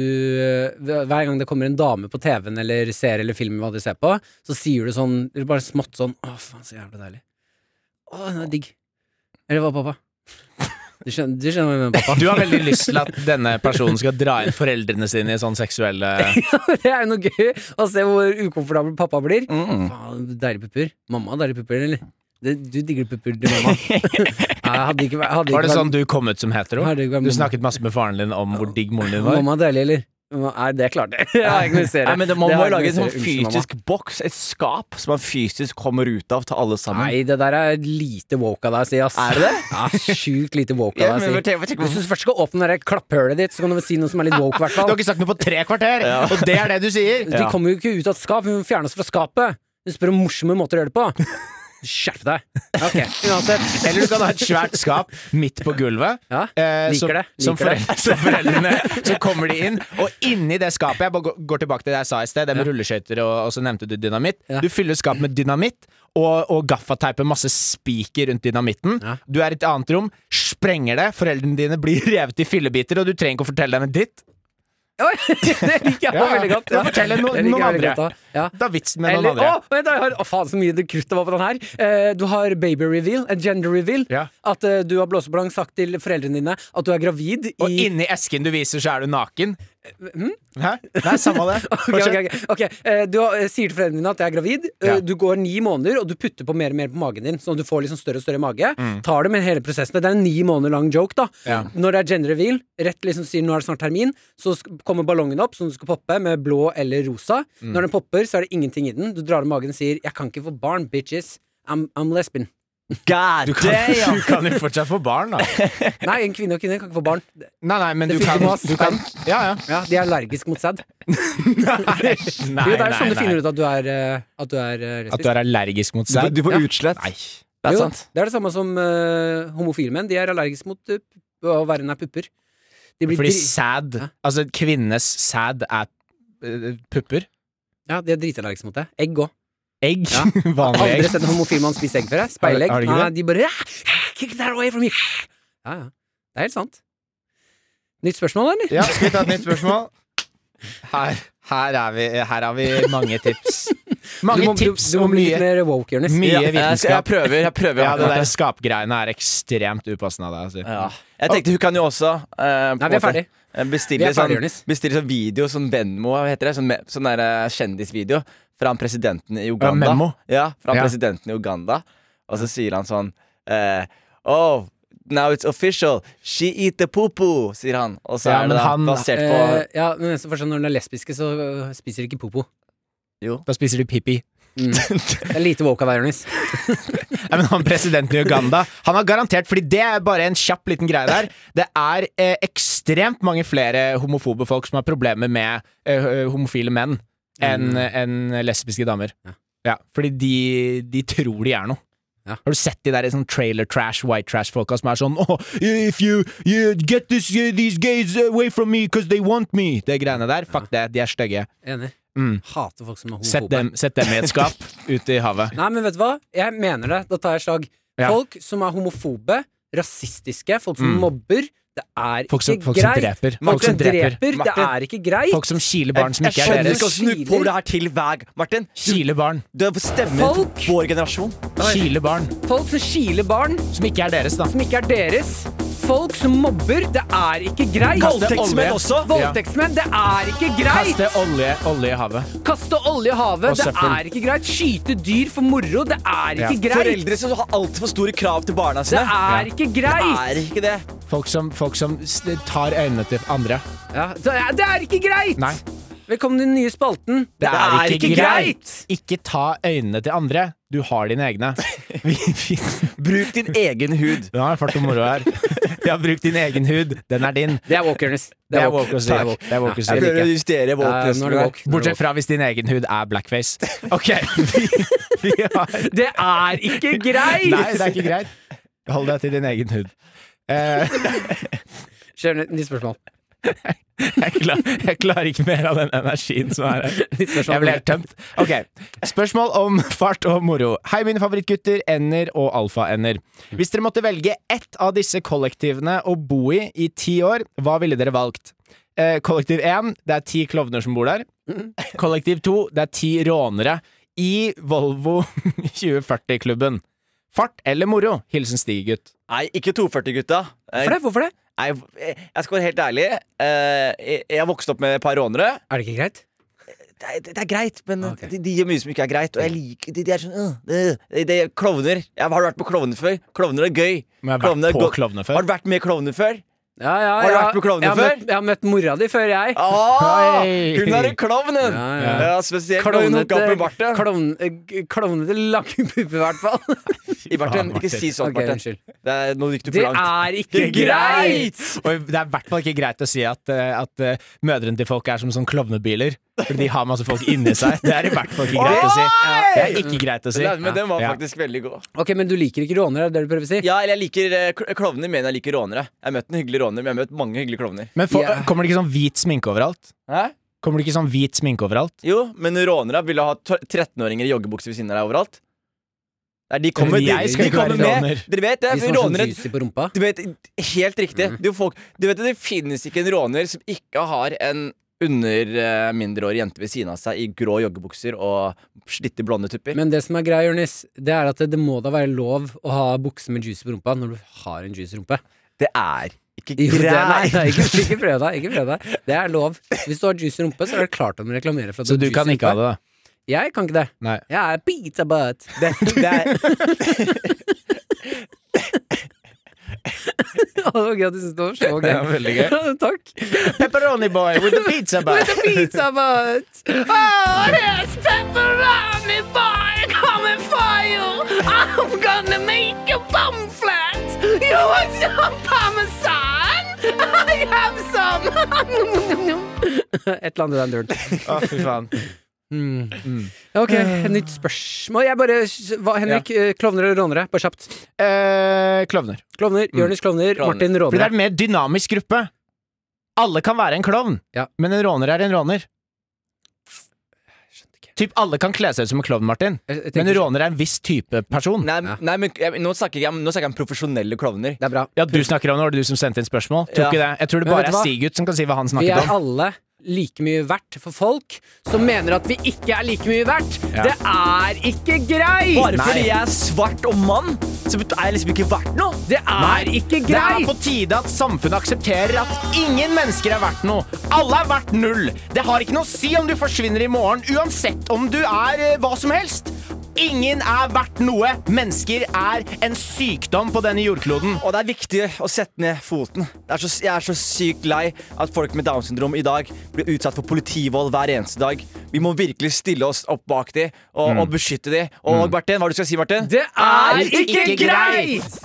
Speaker 2: Hver gang det kommer en dame på TV-en eller ser eller filmer hva du ser på, så sier du sånn eller Bare smått sånn Å, faen, så jævla deilig. Å, den er digg. Eller hva, pappa? Du skjønner, du skjønner hva jeg mener, pappa?
Speaker 3: Du har veldig lyst til at denne personen skal dra inn foreldrene sine i sånn seksuelle
Speaker 2: Det er jo noe gøy å se hvor ukomfortabel pappa blir.
Speaker 4: Mm.
Speaker 2: Faen, deilige pupper. Mamma har deilige pupper, eller? Det, du digger pupper til mamma. Nei, hadde ikke, vært- hadde ikke
Speaker 3: Var det
Speaker 2: vært-
Speaker 3: sånn du kom ut som hetero?
Speaker 2: hadde ikke vært
Speaker 3: Du
Speaker 2: mamma.
Speaker 3: snakket masse med faren din om hvor digg moren din var?
Speaker 2: Mamma er deilig, eller? Mamma- Nei, det klarte jeg. Jeg
Speaker 4: Nei,
Speaker 2: ignorerer.
Speaker 4: men det, Man
Speaker 2: Det
Speaker 4: må
Speaker 2: er
Speaker 4: jo lage en
Speaker 2: ikke
Speaker 4: sånn
Speaker 2: noe å si. Unnskyld,
Speaker 4: fysisk boks, et skap, som man fysisk kommer ut av til alle sammen.
Speaker 2: Nei, det der er lite woke av deg å si, ass.
Speaker 4: Er det det?
Speaker 2: Ja, Sjukt lite woke
Speaker 4: Ja,
Speaker 2: av
Speaker 4: men
Speaker 2: deg å si.
Speaker 4: tenk- tenk-
Speaker 2: Hvis du først skal åpne det der klapphølet ditt, så kan du vel si noe som er litt woke, i hvert
Speaker 3: Du har
Speaker 2: fall.
Speaker 3: ikke sagt noe på tre kvarter, og det er det du sier!
Speaker 2: De kommer jo ikke ut av et skap, vi må fjerne oss fra skapet. Du spør om morsomme måter å gjøre det på. Skjerp deg. Ok, uansett.
Speaker 3: Eller du kan ha et svært skap midt på gulvet.
Speaker 2: Ja,
Speaker 3: eh,
Speaker 2: liker
Speaker 3: som,
Speaker 2: det, liker
Speaker 3: som,
Speaker 2: det.
Speaker 3: foreldre, som foreldrene Så kommer de inn, og inni det skapet Jeg bare går- går tilbake til det jeg sa i sted, det med rulleskøyter, og, og så nevnte du dynamitt.
Speaker 2: Ja.
Speaker 3: Du fyller skapet med dynamitt og, og gaffateiper masse spiker rundt dynamitten.
Speaker 2: Ja.
Speaker 3: Du er i et annet rom, sprenger det, foreldrene dine blir revet i fillebiter, og du trenger ikke å fortelle dem en dritt.
Speaker 2: Oi, det liker jeg
Speaker 3: Ja,
Speaker 2: veldig godt.
Speaker 3: da forteller no-
Speaker 2: Det liker jeg
Speaker 3: noen
Speaker 2: veldig
Speaker 3: andre.
Speaker 2: godt, da. Ja.
Speaker 3: Da er vitsen med
Speaker 2: Eller,
Speaker 3: noen andre.
Speaker 2: å, vent, da, jeg har, å, faen så mye det krutt det var på den her. Eh, du har baby reveal, en gender reveal.
Speaker 3: Ja.
Speaker 2: At eh, du har blåseballong sagt til foreldrene dine at du er gravid
Speaker 3: Og
Speaker 2: i Hm?
Speaker 3: inni esken du viser, så er du naken. Hæ? Nei, samme det.
Speaker 2: Ok, ok, ok. Ok, eh, Du har- eh, sier til foreldrene dine at jeg er gravid. eh,
Speaker 3: Ja.
Speaker 2: Du går ni måneder, og du putter på mer og mer på magen din. Sånn at du får liksom større og større mage. Tar det med hele prosessen. Det er en ni måneder lang joke, da.
Speaker 3: Mm. Ja.
Speaker 2: Når det er gender reveal, rett liksom sier nå er det snart termin, så sk- kommer ballongen opp som du skal poppe, med blå eller rosa.
Speaker 3: Mm.
Speaker 2: Når den popper, så er det ingenting i den. Du drar av magen og sier 'jeg kan ikke få barn, bitches'. I'm, I'm lesbian.
Speaker 4: God
Speaker 3: Du kan,
Speaker 4: damn!
Speaker 3: du kan jo fortsatt få barn, da.
Speaker 2: Nei, en kvinne og kvinne kan ikke få barn.
Speaker 3: Nei, nei, men
Speaker 2: Det
Speaker 3: du kan,
Speaker 2: finner masse
Speaker 3: du kan Ja, ja.
Speaker 2: Ja, De er allergiske mot sæd.
Speaker 3: Nei, nei,
Speaker 2: Jo, det er jo sånn du
Speaker 3: nei.
Speaker 2: finner ut at du er, eh, at du er eh,
Speaker 3: At du
Speaker 2: lesbisk.
Speaker 3: er allergisk mot
Speaker 4: Du,
Speaker 3: sæd?
Speaker 4: du får
Speaker 2: Ja.
Speaker 4: utslett.
Speaker 3: Nei.
Speaker 4: Det er
Speaker 2: Jo,
Speaker 4: sant.
Speaker 2: Det er det samme som eh, homofile menn. De er allergiske mot eh, pu- å være nær pupper. De blir
Speaker 3: Fordi
Speaker 2: dri
Speaker 3: sæd
Speaker 2: Hæ?
Speaker 3: Altså, kvinnenes sæd er eh, pupper.
Speaker 2: ja, de er dritallergiske mot det. Egg òg.
Speaker 3: Egg.
Speaker 2: Ja.
Speaker 3: Vanlig
Speaker 2: Aldri
Speaker 3: egg.
Speaker 2: sett en homofil mann spise egg før. jeg. Speilegg.
Speaker 3: Har- har du ikke
Speaker 2: Nei, de bare "Ah, Kick that away from me. Ja, ja. Det er helt sant. Nytt spørsmål, eller?
Speaker 3: Ja, skal vi ta et nytt spørsmål? Her, her, er vi, her har vi mange tips. Mange
Speaker 2: du må,
Speaker 3: tips
Speaker 2: du, du må
Speaker 3: og
Speaker 2: bli litt
Speaker 3: mye,
Speaker 2: mer woke, Jonis.
Speaker 3: mye
Speaker 4: Ja, jeg, jeg
Speaker 3: vitenskap.
Speaker 4: prøver. Jeg prøver
Speaker 3: Ja, det der skapgreiene er ekstremt upassende av deg.
Speaker 4: Ja.
Speaker 3: Altså.
Speaker 4: Jeg tenkte hun kan jo også eh, på
Speaker 2: Nei, vi er
Speaker 4: en måte,
Speaker 2: ferdig.
Speaker 4: eh,
Speaker 2: Vi
Speaker 4: Bestille
Speaker 2: er ferdig,
Speaker 4: sånn,
Speaker 2: Jonis.
Speaker 4: bestille sånn video, sånn Venmo, hva heter det? Sånn, me- sånn der, eh, kjendisvideo fra han presidenten i Uganda.
Speaker 3: Memo.
Speaker 4: Ja, fra han
Speaker 3: Ja.
Speaker 4: presidenten i Uganda. Og så sier han sånn eh, Oh, now it's official. She eat the poo-poo, sier han. Og så
Speaker 3: Ja,
Speaker 4: er
Speaker 3: men
Speaker 4: det da
Speaker 3: han-
Speaker 4: basert på
Speaker 2: Eh, ja, men så forstår jeg, Når de er lesbiske, så eh, spiser de ikke popo.
Speaker 4: Jo.
Speaker 3: Da spiser du pippi.
Speaker 2: Mm. Det er lite woke av deg, Jonis.
Speaker 3: Nei, men han Presidenten i Uganda Han har garantert, fordi det er bare en kjapp liten greie der Det er eh, ekstremt mange flere homofobe folk som har problemer med eh, homofile menn enn enn lesbiske damer.
Speaker 2: Mm. Ja.
Speaker 3: Ja, fordi de, de tror de er noe.
Speaker 2: Ja.
Speaker 3: Har du sett de der sånn trailer trash, white trash-folka som er sånn oh, If you, you get this, uh, these gays away from me because they want me! Det greiene der. Fuck det, de er stygge.
Speaker 2: Enig.
Speaker 3: Mm.
Speaker 2: Hater folk som er
Speaker 3: Sett
Speaker 2: homofobe.
Speaker 3: dem, sett dem i et skap ute i havet.
Speaker 2: Nei, men vet du hva? Jeg mener det. Da tar jeg slag.
Speaker 3: Ja.
Speaker 2: Folk som er homofobe, rasistiske, folk som
Speaker 3: Mm.
Speaker 2: mobber, det er
Speaker 3: Folk som,
Speaker 2: ikke
Speaker 3: folk som
Speaker 2: greit.
Speaker 3: dreper.
Speaker 2: Folk som dreper, det
Speaker 4: Martin.
Speaker 2: er ikke greit.
Speaker 3: Folk som kiler barn som ikke er
Speaker 4: skjønner
Speaker 3: deres.
Speaker 4: ikke åssen du får det her til hver gang, Martin.
Speaker 3: Kiler barn.
Speaker 4: Du stemmer
Speaker 2: Folk.
Speaker 4: på vår generasjon.
Speaker 3: Kiler barn
Speaker 2: Folk som kiler barn
Speaker 3: som ikke er deres, da.
Speaker 2: som ikke er deres. Folk som mobber, det er ikke greit.
Speaker 3: Kaste
Speaker 4: Voldtektsmenn
Speaker 3: olje.
Speaker 4: også.
Speaker 2: Voldtektsmenn, det er ikke greit!
Speaker 3: Kaste olje, olje i havet.
Speaker 2: Kaste olje i
Speaker 3: Og
Speaker 2: havet, det
Speaker 3: søppel.
Speaker 2: er ikke greit. Skyte dyr for moro, det er
Speaker 3: Ja.
Speaker 2: ikke greit.
Speaker 4: Foreldre som har altfor store krav til barna
Speaker 2: Det
Speaker 4: sine.
Speaker 2: er ikke greit!
Speaker 4: er ikke det.
Speaker 3: Folk som, folk som s- tar øynene til andre.
Speaker 2: Ja, det er- det er ikke greit!
Speaker 3: Nei.
Speaker 2: Velkommen til den nye spalten.
Speaker 3: Det er ikke greit.
Speaker 2: greit.
Speaker 3: Ikke ta øynene til andre. Du har dine egne. Vi, vi,
Speaker 4: Bruk din egen hud.
Speaker 3: nå har jeg fart og moro her. Vi har brukt din egen hud. Den er din.
Speaker 2: Det er walkernes.
Speaker 3: Det er woke å si.
Speaker 2: Takk.
Speaker 3: Det er woke å si.
Speaker 4: Jeg prøver å justere
Speaker 2: Ja, nå er det woke.
Speaker 4: våpenet.
Speaker 3: Bortsett fra hvis din egen hud er blackface. Ok, vi, vi har
Speaker 2: Det er ikke greit!
Speaker 3: Nei, det er ikke greit. Hold deg til din egen hud. Eh,
Speaker 2: Kjør nytt nytt spørsmål.
Speaker 3: jeg, klar, jeg klarer ikke mer av den energien som er her.
Speaker 2: Nytt spørsmål.
Speaker 3: Jeg ble helt tømt. Ok, Spørsmål om fart og moro. Hei, mine favorittgutter, ender og alfaender. Hvis dere måtte velge ett av disse kollektivene å bo i i ti år, hva ville dere valgt? Eh, kollektiv 1, det er ti klovner som bor der. Kollektiv 2, det er ti rånere i Volvo 2040-klubben. Fart eller moro? Hilsen Stig-gutt.
Speaker 4: Nei, ikke 240-gutta.
Speaker 2: Hvorfor det? Hvorfor det?
Speaker 4: Nei, jeg skal være helt ærlig. Eh, Jeg jeg vokste opp med et par rånere.
Speaker 2: Er det ikke greit?
Speaker 4: Det er, det er greit, men eh,
Speaker 2: Ok.
Speaker 4: de, de gjør mye som ikke er greit. Og jeg liker De, de er sånn øh, øh, de, de er Klovner. Jeg har du vært på klovner før? Klovner er gøy.
Speaker 3: Men jeg har
Speaker 4: Klovner er
Speaker 3: vært på
Speaker 4: go-
Speaker 3: klovner
Speaker 4: Har
Speaker 3: før.
Speaker 4: du vært med klovner før?
Speaker 2: Ja, ja,
Speaker 4: Har du
Speaker 2: ja.
Speaker 4: vært på Klovner
Speaker 2: jeg har
Speaker 4: før?
Speaker 2: møtt- Jeg har møtt mora di før, jeg.
Speaker 4: Ah,
Speaker 3: Hei.
Speaker 4: hun er en klovn, hun!
Speaker 2: Ja,
Speaker 4: Ja,
Speaker 2: ja.
Speaker 4: spesielt når hun hooka opp
Speaker 2: Klovnete,
Speaker 4: med Barten.
Speaker 2: klovn, eh, klovnete lange pupper, i hvert fall.
Speaker 4: I Barten.
Speaker 3: Faen,
Speaker 4: Ikke
Speaker 3: Martin.
Speaker 4: si sånn,
Speaker 2: Ok,
Speaker 4: Barten.
Speaker 2: unnskyld.
Speaker 4: Det er, nå gikk du
Speaker 2: Det
Speaker 4: for langt.
Speaker 2: er ikke greit!
Speaker 3: Og det er i hvert fall ikke greit å si at, eh, at eh, mødrene til folk er som sånn klovnebiler. For de har masse folk inni seg. Det er i hvert fall ikke greit å si. Det er ikke greit å si.
Speaker 4: Den, men den var
Speaker 3: Ja.
Speaker 4: faktisk veldig god.
Speaker 2: Ok, Men du liker ikke rånere, er det det du prøver å si?
Speaker 4: Ja, eller jeg liker eh, kl- klovner mer enn jeg liker rånere. Jeg har møtt en hyggelig råner, men jeg har møtt mange hyggelige klovner.
Speaker 3: Men for,
Speaker 2: Ja.
Speaker 3: kommer det ikke sånn hvit sminke overalt?
Speaker 4: Hæ?
Speaker 3: Kommer det ikke sånn hvit sminke overalt?
Speaker 4: Jo, men rånere ville ha t- 13-åringer i joggebukser ved siden av deg overalt. Nei, de
Speaker 3: Men
Speaker 4: kommer, de,
Speaker 3: jeg skal
Speaker 4: de
Speaker 3: ikke være
Speaker 4: kommer med.
Speaker 3: råner.
Speaker 4: Dere vet det,
Speaker 2: De som
Speaker 4: for
Speaker 2: har sånn
Speaker 4: rånere
Speaker 2: juicy på rumpa?
Speaker 4: Du vet, Helt riktig.
Speaker 2: Mm.
Speaker 4: Du, folk, du vet at Det finnes ikke en råner som ikke har en under eh, mindreårig jente ved siden av seg i grå joggebukser og slitte blonde tupper.
Speaker 2: Men det som er greia, Jonis, det er at det, det må da være lov å ha bukse med juice på rumpa når du har en juice i rumpe.
Speaker 4: det er ikke
Speaker 2: Jo, det er, nei, nei,
Speaker 4: greit!
Speaker 2: ikke, ikke prøv deg. Ikke prøv deg. Det er lov. Hvis du har juice i rumpe, så er det klart om du reklamerer for at
Speaker 3: Så
Speaker 4: Sånn
Speaker 3: du kan ikke ha det, da?
Speaker 2: Jeg kan ikke det.
Speaker 3: Nei.
Speaker 2: Jeg er pizza butt.
Speaker 4: Det, det er,
Speaker 2: Å, det var gøy at du syntes det var så gøy.
Speaker 3: Det var veldig gøy.
Speaker 2: Ja, Takk.
Speaker 3: Pepperoni boy with the pizza
Speaker 2: With a pizza butt. Oh, yes, pepperoni boy coming for you. I'm gonna make you pomflet. You want some parmesan? I have some. Et eller annet i den duren.
Speaker 3: Å, fy faen.
Speaker 2: Mm. Ok, nytt spørsmål. Jeg bare, hva, Henrik, eh, klovner eller rånere? Bare kjapt.
Speaker 3: Eh, klovner.
Speaker 2: Klovner, Jonis klovner,
Speaker 4: Klovner.
Speaker 2: Martin
Speaker 3: For det er
Speaker 2: rånere.
Speaker 3: en mer dynamisk gruppe. Alle kan være en klovn,
Speaker 2: Ja.
Speaker 3: men en råner er en råner.
Speaker 2: Jeg skjønte ikke.
Speaker 3: Typ alle kan kle seg ut som en klovn, Martin.
Speaker 2: Jeg- jeg
Speaker 3: Men
Speaker 2: tenker-
Speaker 3: en råner er en viss type person.
Speaker 4: nei,
Speaker 2: Ja.
Speaker 4: nei, men jeg, nå, snakker jeg, om- nå snakker jeg om profesjonelle klovner.
Speaker 2: Det er bra.
Speaker 3: Ja, du snakker om det, var det du som sendte inn spørsmål? Tror
Speaker 4: Ja.
Speaker 3: ikke det. Jeg tror det
Speaker 2: Men
Speaker 3: bare
Speaker 2: vet
Speaker 3: er
Speaker 2: du hva?
Speaker 3: Sigurd som kan si hva han
Speaker 2: Vi
Speaker 3: snakket
Speaker 2: er
Speaker 3: om.
Speaker 2: alle like mye verdt for folk som mener at vi ikke er like mye verdt.
Speaker 3: Ja.
Speaker 2: Det er ikke greit!
Speaker 4: Bare
Speaker 3: Nei.
Speaker 4: fordi jeg er svart og mann, så bet- er jeg liksom ikke verdt noe!
Speaker 2: Det er ikke
Speaker 3: Det er på
Speaker 2: greit!
Speaker 3: tide at samfunnet aksepterer at ingen mennesker er verdt noe. Alle er verdt null. Det har ikke noe å si om du forsvinner i morgen, uansett om du er eh, hva som helst. Ingen er verdt noe. Mennesker er en sykdom på denne jordkloden.
Speaker 4: Og det er viktig å sette ned foten. Det er så, jeg er så sykt lei at folk med Downs syndrom i dag blir utsatt for politivold hver eneste dag. Vi må virkelig stille oss opp bak de og, og beskytte de. Og Martin, hva er Mm. det du skal si, Martin?
Speaker 2: Det er ikke
Speaker 3: ikke
Speaker 2: greit!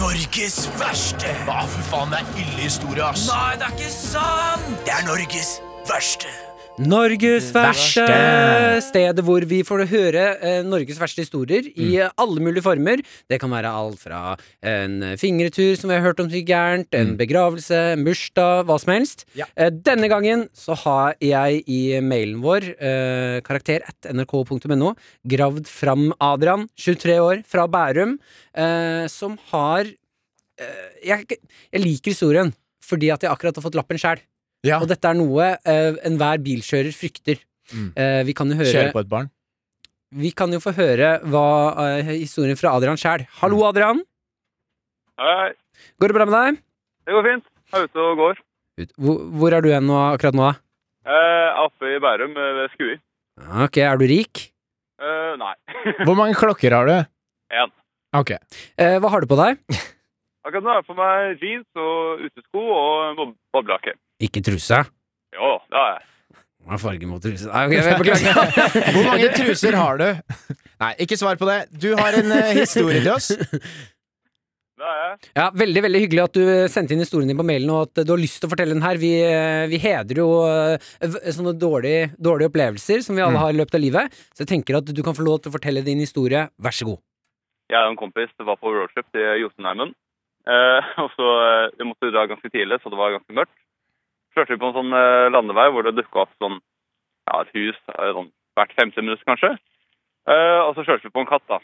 Speaker 5: Norges verste.
Speaker 3: Hva for faen, det er ille historie, ass.
Speaker 5: Nei, det er ikke sant! Det er Norges verste.
Speaker 2: Norges verste!
Speaker 3: Verste.
Speaker 2: Stedet hvor vi får høre eh, Norges verste historier i eh, alle mulige former. Det kan være alt fra en fingretur som vi har hørt om sykt gærent, en begravelse, en bursdag, hva som helst.
Speaker 3: Ja.
Speaker 2: Eh, denne gangen så har jeg i mailen vår, eh, karakter at nrk.no, gravd fram Adrian, 23 år, fra Bærum, eh, som har eh, jeg, jeg liker historien fordi at jeg akkurat har fått lappen sjæl.
Speaker 3: Ja.
Speaker 2: Og dette er noe eh, enhver bilkjører frykter.
Speaker 3: Mm.
Speaker 2: Eh, vi, kan jo høre,
Speaker 3: Kjøre på et barn.
Speaker 2: vi kan jo få høre hva, eh, historien fra Adrian sjæl. Hallo, Adrian.
Speaker 6: Hei,
Speaker 2: Går det bra med deg?
Speaker 6: det går fint. Jeg er ute og går.
Speaker 2: Hvor, hvor er du hen nå, akkurat nå? da?
Speaker 6: Jeg er oppe i Bærum eh, ved Skui.
Speaker 2: Ah, Ok, er du rik?
Speaker 6: Eh, nei.
Speaker 3: Hvor mange klokker har du?
Speaker 6: En.
Speaker 3: Ok.
Speaker 2: Eh, hva har du på deg?
Speaker 6: Akkurat nå har jeg på meg jeans og utesko og bob- boblejakke.
Speaker 2: Ikke trusa.
Speaker 6: Jo, det har jeg.
Speaker 2: Hva er fargen på trusa? Ah, ok, jeg beklager.
Speaker 3: Hvor mange truser har du? Nei, ikke svar på det. Du har en eh, historie til oss.
Speaker 6: Det har jeg.
Speaker 2: Ja, veldig veldig hyggelig at du eh, sendte inn historien din på mailen, og at eh, du har lyst til å fortelle den her. Vi, eh, vi hedrer jo eh, v- sånne dårlige, dårlige opplevelser som
Speaker 4: Mm.
Speaker 2: vi alle har i løpet av livet. Så jeg tenker at du kan få lov til å fortelle din historie. Vær så god.
Speaker 6: Jeg og en kompis var på roadtrip til Jotunheimen. Eh, og så eh, Vi måtte dra ganske tidlig, så det var ganske mørkt. Så Kjørte vi på en sånn eh, landevei hvor det dukka opp sånn, ja, et hus eh, sånn, hvert femte minutt, kanskje. Eh, og så kjørte vi på en katt, da.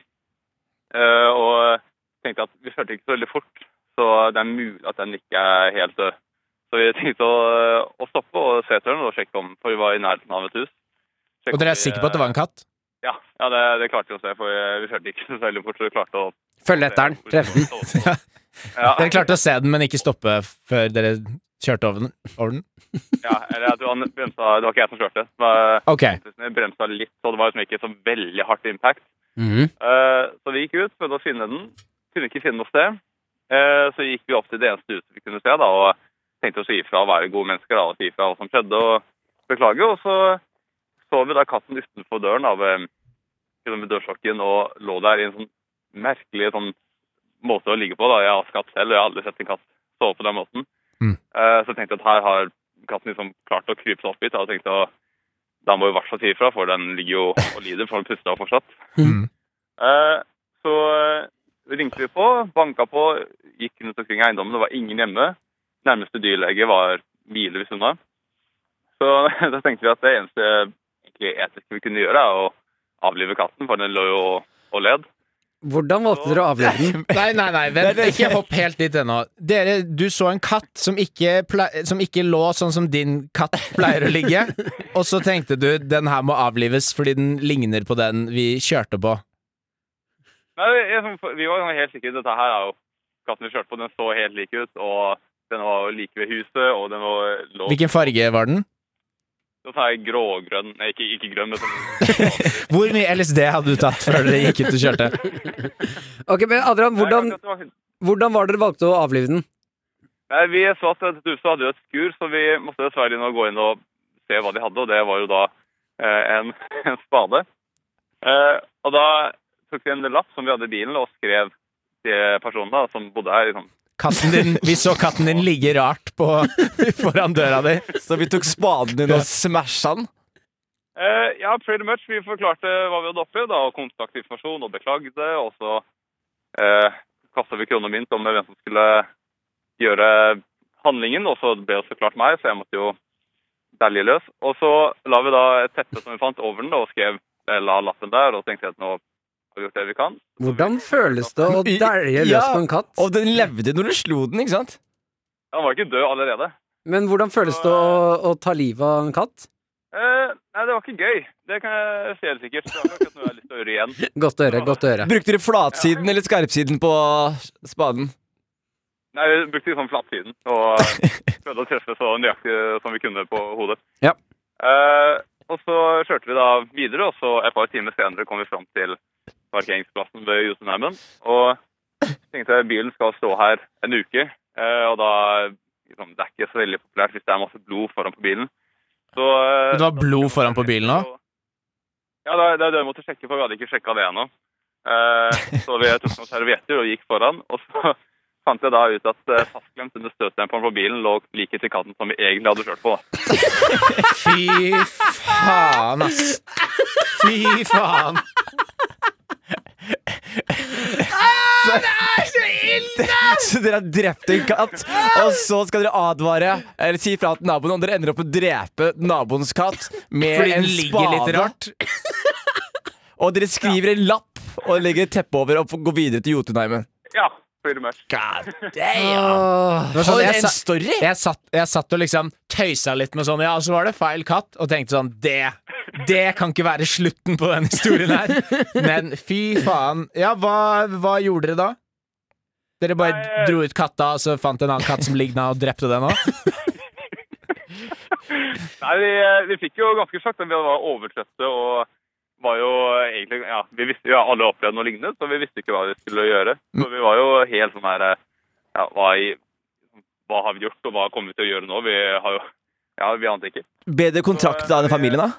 Speaker 6: Eh, og tenkte at vi kjørte ikke så veldig fort, så det er mulig at den ikke er helt død. Så vi tenkte å, å stoppe og se etter den og sjekke om, for vi var i nærheten av et hus.
Speaker 3: Og dere er sikre på at det var en katt?
Speaker 6: eh, Ja, ja det, det klarte vi å se, for vi, vi kjørte ikke så veldig fort, så vi klarte å
Speaker 2: Følg etter den. Treff den.
Speaker 6: ja.
Speaker 3: Dere klarte å se den, men ikke stoppe før dere kjørte over den? Over den.
Speaker 6: ja, eller jeg tror han bremsa Det var ikke jeg som kjørte. Det var
Speaker 3: Ok.
Speaker 6: jeg bremsa litt, så det var liksom ikke så veldig hardt impact.
Speaker 2: Mhm.
Speaker 6: Eh, så vi gikk ut, prøvde å finne den. Kunne ikke finne noe sted. Eh, så gikk vi opp til det eneste huset vi kunne se, da, og tenkte å si ifra og være gode mennesker da, og si ifra hva som skjedde, og beklage. Og så så vi da katten utenfor døren da, ved, ved dørstokken og lå der i en sånn merkelig sånn måte å ligge på. da. Jeg har katt selv, og jeg har aldri sett en katt sove på den måten.
Speaker 3: Mm.
Speaker 6: Eh, så tenkte jeg at her har katten liksom klart å krype seg opp hit, da, og tenkte å, da må vi i hvert fall si ifra, for den ligger jo og lider, for den puster jo fortsatt.
Speaker 3: Mm.
Speaker 6: Eh, Så eh, ringte vi på, banka på, gikk rundt omkring i eiendommen. Det var ingen hjemme. Nærmeste dyrlege var milevis unna. Så da tenkte vi at det eneste egentlig etiske vi kunne gjøre, er å avlive katten, for den lå jo og led.
Speaker 2: Hvordan valgte dere å avlive den?
Speaker 3: Nei, nei, nei, vent, ikke hopp helt dit ennå. Dere, du så en katt som ikke, plei- som ikke lå sånn som din katt pleier å ligge, og så tenkte du den her må avlives fordi den ligner på den vi kjørte på.
Speaker 6: Nei, jeg, vi var jo helt sikre. Dette her er jo katten vi kjørte på. Den så helt lik ut. og den var jo like ved huset, og den var lå
Speaker 3: Hvilken farge var den?
Speaker 6: Den er grågrønn Nei, ikke, ikke grønn, men sånn
Speaker 3: Hvor mye LSD hadde du tatt før dere gikk ut og kjørte?
Speaker 2: Ok, men Adrian, hvordan,
Speaker 6: Nei, det var-
Speaker 2: hvordan var dere valgte å avlive den?
Speaker 6: Nei, Vi så at dette huset hadde jo et skur, så vi måtte dessverre inn og gå inn og se hva de hadde. Og det var jo da eh, en, en spade. Eh, og da tok vi en lapp som vi hadde i bilen, og skrev til personen da, som bodde her. Liksom.
Speaker 3: Katten din, vi så katten din ligge rart på, foran døra di.
Speaker 4: Så vi tok spaden din og smasha den.
Speaker 6: Eh, ja, pretty much. Vi forklarte hva vi hadde opplevd, da, og kontaktinformasjon, og beklagde. Og så eh, kasta vi kroner mynt om hvem som skulle gjøre handlingen, og så ble det så klart meg, så jeg måtte jo dælje løs. Og så la vi da et teppe som vi fant over den, da, og skrev eh, la lappen der, og tenkte at nå har vi gjort det vi kan.
Speaker 2: Hvordan føles det å dælje løs
Speaker 4: Ja,
Speaker 2: på en katt?
Speaker 4: Og den levde når du slo den, ikke sant?
Speaker 6: Han var ikke død allerede.
Speaker 2: Men hvordan føles det å, å ta livet av en katt?
Speaker 6: Eh, nei, det var ikke gøy. Det kan jeg si helt sikkert. Det var akkurat noe jeg har lyst til å gjøre igjen.
Speaker 2: Godt å høre. godt å høre
Speaker 4: Brukte dere flatsiden eller skarpsiden på spaden?
Speaker 6: Nei, vi brukte liksom flatsiden og eh, prøvde å treffe så nøyaktig som vi kunne på hodet.
Speaker 2: Ja.
Speaker 6: Eh, og så kjørte vi da videre, og så et par timer senere kom vi fram til parkeringsplassen ved Jotunheimen. Og tenkte at bilen skal stå her en uke, eh, og da liksom, Det er ikke så veldig populært hvis det er masse blod foran på bilen. Så eh,
Speaker 3: Men det var blod foran på bilen også?
Speaker 6: Ja, det er det er det vi måtte sjekke, for vi hadde ikke sjekka det ennå. Eh, så vi tok noen servietter og gikk foran, og så fant jeg da ut at eh, fastklemt under støtdemperen på bilen lå like til kanten som vi egentlig hadde kjørt på. da.
Speaker 3: Fy
Speaker 4: Ah,
Speaker 3: faen, ass. Fy faen.
Speaker 4: Så dere har drept en katt, og så skal dere advare Eller si fra til naboen, og dere ender opp med å drepe naboens katt med
Speaker 3: Fordi den
Speaker 4: en
Speaker 3: ligger litt
Speaker 4: spade.
Speaker 3: rart.
Speaker 4: Og dere skriver en lapp og legger et teppe over og går videre til Jotunheimen.
Speaker 6: Ja, pretty much.
Speaker 3: God
Speaker 2: Åh.
Speaker 3: Det var sånn,
Speaker 4: For
Speaker 3: jeg,
Speaker 4: en
Speaker 3: Ah. sa,
Speaker 4: story!
Speaker 3: jeg, satt, jeg satt og liksom tøysa litt med sånn Ja, og så var det feil katt, og tenkte sånn Det det kan ikke være slutten på den historien her. Men fy faen. Ja, hva, hva gjorde dere da? Dere bare
Speaker 6: Nei.
Speaker 3: dro ut katta, og så fant en annen katt som ligna, og drepte den òg?
Speaker 6: Nei, vi, eh, vi fikk jo ganske sjokk. men Vi var overtrøtte og var jo egentlig Ja, vi visste jo alle opplevde noe lignende, så vi visste ikke hva vi skulle gjøre. Så vi var jo helt sånn her eh, Ja, hva, i, hva har vi gjort, og hva kommer vi til å gjøre nå? Vi har jo Ja, vi ante ikke.
Speaker 4: Ble det kontrakt da den familien, da?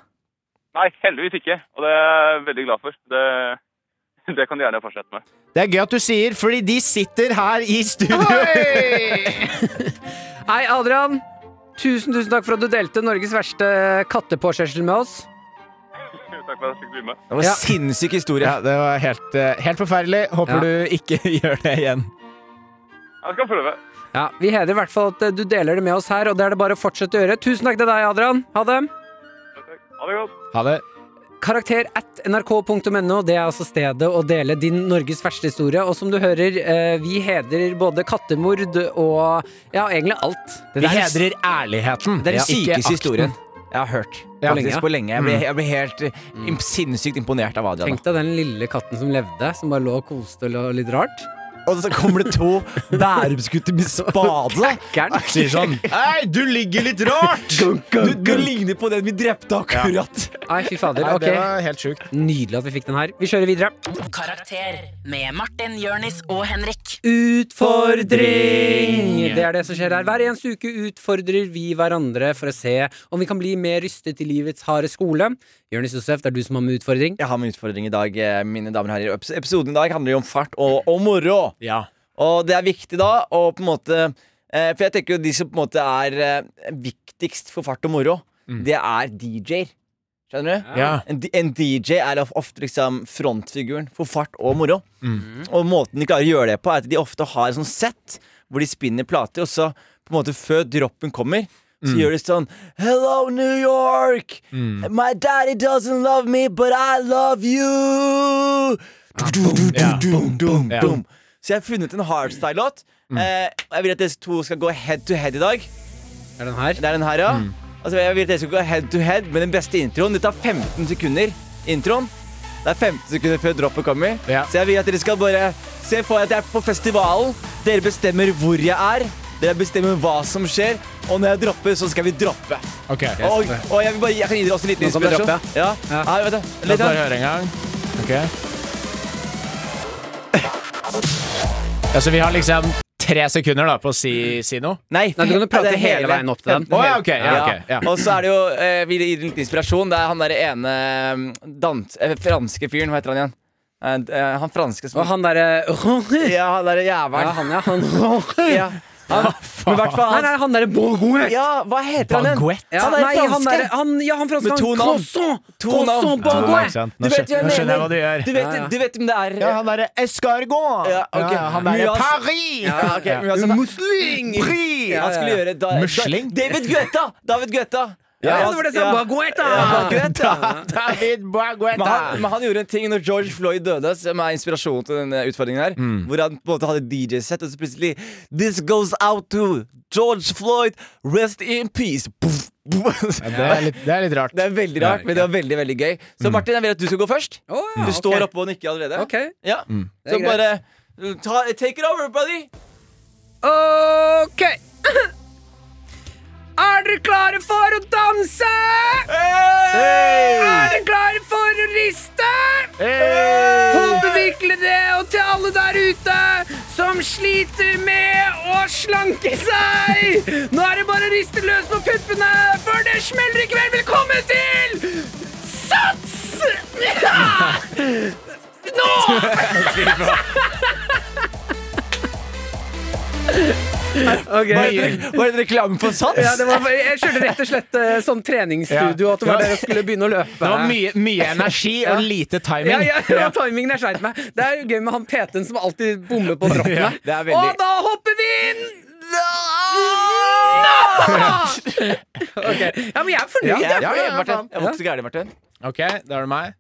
Speaker 6: Nei, heldigvis ikke. Og det er jeg veldig glad for. Det, det kan de gjerne fortsette med.
Speaker 3: Det er gøy at du sier, fordi de sitter her i studio.
Speaker 2: Hei, Adrian. Tusen, tusen takk for at du delte Norges verste kattepåkjørsel med oss.
Speaker 6: Takk for at jeg fikk bli med.
Speaker 4: Det var
Speaker 2: Ja.
Speaker 4: en sinnssyk historie.
Speaker 3: Ja, det var helt, eh, helt forferdelig. Håper
Speaker 2: Ja.
Speaker 3: du ikke gjør det igjen.
Speaker 6: Jeg skal prøve.
Speaker 2: Ja, Vi hedrer i hvert fall at eh, du deler det med oss her, og det er det bare å fortsette å gjøre. Tusen takk til deg, Adrian. Ha det.
Speaker 6: Ha det godt.
Speaker 3: Ha det.
Speaker 2: Karakter at nrk.no, det er altså stedet å dele din Norges verste historie. Og som du hører, eh, vi hedrer både kattemord og ja, egentlig alt.
Speaker 3: Vi hedrer ærligheten.
Speaker 4: Det er den
Speaker 3: ikke
Speaker 4: sykeste
Speaker 3: akten.
Speaker 4: historien jeg har hørt.
Speaker 3: Ja.
Speaker 4: Faktisk på lenge. Jeg ble,
Speaker 3: Mm.
Speaker 4: jeg ble helt eh, imp- sinnssykt imponert av Adrian.
Speaker 2: Tenk deg den lille katten som levde, som bare lå og koste og lå litt rart.
Speaker 4: Og så kommer det to bærumsgutter med spade.
Speaker 2: Gæren.
Speaker 3: Sier sånn Hei, du ligger litt rart!
Speaker 4: Du, du ligner på den vi drepte akkurat.
Speaker 2: Nei, fy fader.
Speaker 3: Nei, Det
Speaker 2: Ok,
Speaker 3: var helt sjukt.
Speaker 2: Nydelig at vi fikk den her. Vi kjører videre.
Speaker 7: Karakter med Martin, Jørnis og Henrik.
Speaker 2: Utfordring! Det er det som skjer her. Hver eneste uke utfordrer vi hverandre for å se om vi kan bli mer rustet i livets harde skole. Jonis Josef, det er du som har med utfordring.
Speaker 4: Jeg har min utfordring i dag, eh, mine damer og herrer. Eps- Episoden i dag handler jo om fart og, og moro.
Speaker 3: Ja.
Speaker 4: Og det er viktig da å på en måte eh, For jeg tenker jo de som på en måte er eh, viktigst for fart og moro, det er DJ-er. Skjønner du?
Speaker 3: Mm. Ja.
Speaker 4: En, D- en DJ er of- ofte liksom frontfiguren for fart og moro.
Speaker 3: Mm.
Speaker 4: Og måten de klarer å gjøre det på, er at de ofte har et sånt sett hvor de spinner plater, og så på en måte før droppen kommer,
Speaker 3: Mm.
Speaker 4: så gjør de sånn Hello, New York! My daddy doesn't love me, but I love you!
Speaker 3: Ja.
Speaker 4: Dum, dum,
Speaker 3: Ja.
Speaker 4: dum. Så jeg har funnet en hardstyle-låt.
Speaker 2: Mm.
Speaker 4: Eh, og jeg vil at dere to skal gå head to head i dag.
Speaker 2: Er den her?
Speaker 4: Det er den her, ja.
Speaker 2: Mm.
Speaker 4: Altså, jeg vil at dere skal gå head to head med den beste introen. Det tar 15 sekunder. Introen. Det er 15 sekunder før droppet kommer.
Speaker 3: Ja.
Speaker 4: Så jeg vil at dere skal bare se for dere at jeg er på festivalen. Dere bestemmer hvor jeg er. Dere bestemmer hva som skjer. Og når jeg dropper, så skal vi droppe.
Speaker 3: Ok.
Speaker 4: Og, og jeg, vil bare, jeg kan gi dere også en liten
Speaker 2: Nå kan vi
Speaker 4: inspirasjon.
Speaker 2: droppe,
Speaker 4: ja.
Speaker 2: Ja.
Speaker 4: Her, vet du.
Speaker 3: La oss
Speaker 4: Litt, sånn
Speaker 3: bare
Speaker 4: her.
Speaker 3: høre en gang. Ok. Ja, så vi har liksom tre sekunder da på å si, si noe?
Speaker 4: Nei,
Speaker 2: Nei, du kan jo
Speaker 4: det er
Speaker 2: prate hele veien opp til den.
Speaker 3: Å ja, ok. Ja, ok, ja.
Speaker 4: Og så er det jo eh, Vi gir litt inspirasjon. Det er han derre ene eh, dans, eh, franske fyren. Hva heter han igjen? Eh, d- eh, han franske som
Speaker 2: Og han derre
Speaker 4: Ja, han derre
Speaker 2: Ja,
Speaker 4: jævelen.
Speaker 2: han, ja. Han,
Speaker 4: Ja, han, men hvert fall
Speaker 2: Nei,
Speaker 4: han
Speaker 2: nei, han derre
Speaker 4: Ja, hva heter han igjen?
Speaker 3: Baguette.
Speaker 2: Ja,
Speaker 4: Han er
Speaker 2: nei, han
Speaker 4: franske.
Speaker 2: derre han, Ja, han franske.
Speaker 4: Med to
Speaker 2: han-
Speaker 4: navn.
Speaker 2: Croissant!
Speaker 4: To
Speaker 2: Croissant
Speaker 4: navn.
Speaker 3: Ja,
Speaker 2: baguette!
Speaker 3: ikke sant.
Speaker 4: Du
Speaker 3: Nå,
Speaker 4: vet
Speaker 3: skjønner,
Speaker 4: hva
Speaker 3: nå skjønner
Speaker 4: jeg
Speaker 3: jeg
Speaker 4: mener.
Speaker 3: hva du gjør.
Speaker 4: Du
Speaker 2: Ja, ja.
Speaker 4: vet, du vet hvem det er?
Speaker 3: Ja, han derre escargot!
Speaker 4: Ja, ok.
Speaker 3: ja, han derre
Speaker 4: Mye, ass.
Speaker 3: Paris!
Speaker 4: Ja, ok, men altså,
Speaker 2: Musling!
Speaker 4: Han skulle gjøre da,
Speaker 3: Musling?
Speaker 4: Da, David Guetta! David Guetta.
Speaker 2: Ja, det var det som Baguette!
Speaker 4: Ja, Baguette.
Speaker 3: David
Speaker 4: Men han,
Speaker 3: Baguetta!
Speaker 4: men han gjorde en ting når George Floyd døde, som er inspirasjonen til denne utfordringen her. Hvor han på en måte hadde DJ-sett, og så plutselig This goes out to George Floyd, rest in peace. Puff, puff.
Speaker 3: Ja, det, er litt, det er litt rart.
Speaker 4: Det er veldig rart, men det var veldig veldig gøy. Så Martin, jeg vil at du skal gå først.
Speaker 2: Å, ja,
Speaker 4: Du står
Speaker 2: ok.
Speaker 4: oppe og nikker allerede.
Speaker 2: Ok.
Speaker 4: Ja.
Speaker 2: er
Speaker 4: Så
Speaker 2: greit.
Speaker 4: bare uh, ta, Take it over, buddy.
Speaker 2: Ok. Er dere klare for å danse? Er dere klare for å riste? Håper virkelig det. Og til alle der ute som sliter med å slanke seg. Nå er det bare å riste løs på puppene før det smeller i kveld. Velkommen til Sats! Ja! Nå! Ok.
Speaker 3: Hva gjør-
Speaker 4: Var det en reklame for Sats?
Speaker 2: Ja, det var, jeg kjørte rett og slett eh, sånn treningsstudio,
Speaker 3: Ja.
Speaker 2: at det var
Speaker 3: Ja.
Speaker 2: der jeg skulle begynne å løpe.
Speaker 3: Det var mye, mye energi og lite timing.
Speaker 2: Ja, ja, ja, timingen er skjeit meg. Det er jo gøy med han PT-en som alltid bommer på droppene.
Speaker 3: Ja,
Speaker 4: det er veldig-
Speaker 2: Og da hopper vi inn! Da! Ok. Ja, men jeg er fornøyd.
Speaker 4: Ja, ja,
Speaker 2: jeg.
Speaker 4: ja,
Speaker 3: ja,
Speaker 4: Martin.
Speaker 3: faen.
Speaker 4: Jeg var ikke så gæren, Martin.
Speaker 3: Ok, da er det meg.